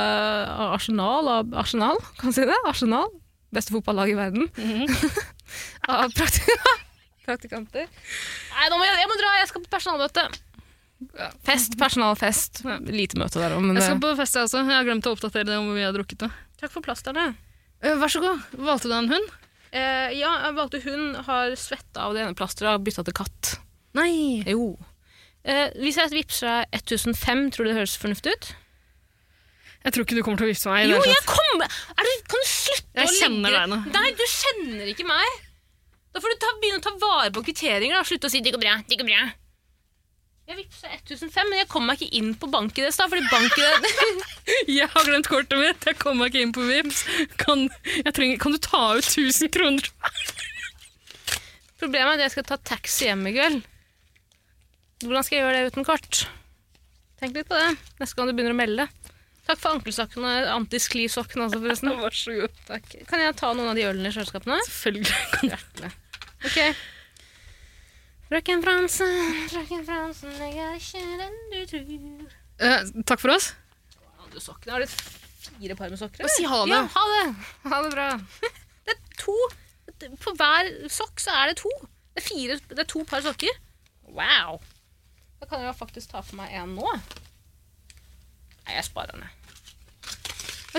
A: arsenal av Arsenal, kan man si det? Arsenal. Beste fotballag i verden. av prakti praktikanter. Nei, nå må jeg, jeg må dra! Jeg skal på personalmøte.
B: Ja.
A: Fest, personalfest. Lite møte der òg, men
B: Jeg skal
A: det-
B: på fest, jeg også. Jeg har glemt å oppdatere det om hvor mye jeg har drukket. nå.
A: Takk for plasterne.
B: Eh, Vær så god. Valgte du deg en hund?
A: Eh, ja, jeg valgte hun har svetta av det ene plasteret og bytta til katt.
B: Nei.
A: Jo. Eh, hvis jeg vippser deg 1005, tror du det høres fornuftig ut?
B: Jeg tror ikke du kommer til å vifte meg. i
A: Jo,
B: det hele
A: jeg
B: tatt.
A: kommer! Er du, kan du slutte
B: Jeg
A: å
B: kjenner
A: legge
B: deg nå.
A: Nei, du kjenner ikke meg. Da får du ta, begynne å ta vare på kvitteringer. da. Slutte å si 'det går bra', 'det går bra'. Jeg vippsa 1005, men jeg kom meg ikke inn på bank-ID, fordi bank-ID
B: sånn, Jeg har glemt kortet mitt. Jeg kommer meg ikke inn på Vipps. Kan, jeg trenger, kan du ta ut 1000 kroner?
A: Problemet er at jeg skal ta taxi hjem i kveld. Hvordan skal jeg gjøre det uten kort? Tenk litt på det neste gang du begynner å melde. Takk for ankelsokkene og antisklisokkene også, forresten.
B: Vær så god.
A: Kan jeg ta noen av de ølene i kjøleskapene?
B: Selvfølgelig kan jeg.
A: Ok. Frøken Fransen, frøken Fransen, jeg er ikke den du tror.
B: Eh, takk for oss.
A: Hadde du sokkene? Har du fire par med sokker?
B: Si ha det.
A: Ja, ha det. Ha det bra. Det er to. På hver sokk så er det to. Det er, fire, det er to par sokker. Wow. Da kan jeg jo faktisk ta for meg en nå. Nei, jeg sparer den. jeg.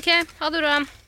A: Ok, ha det bra.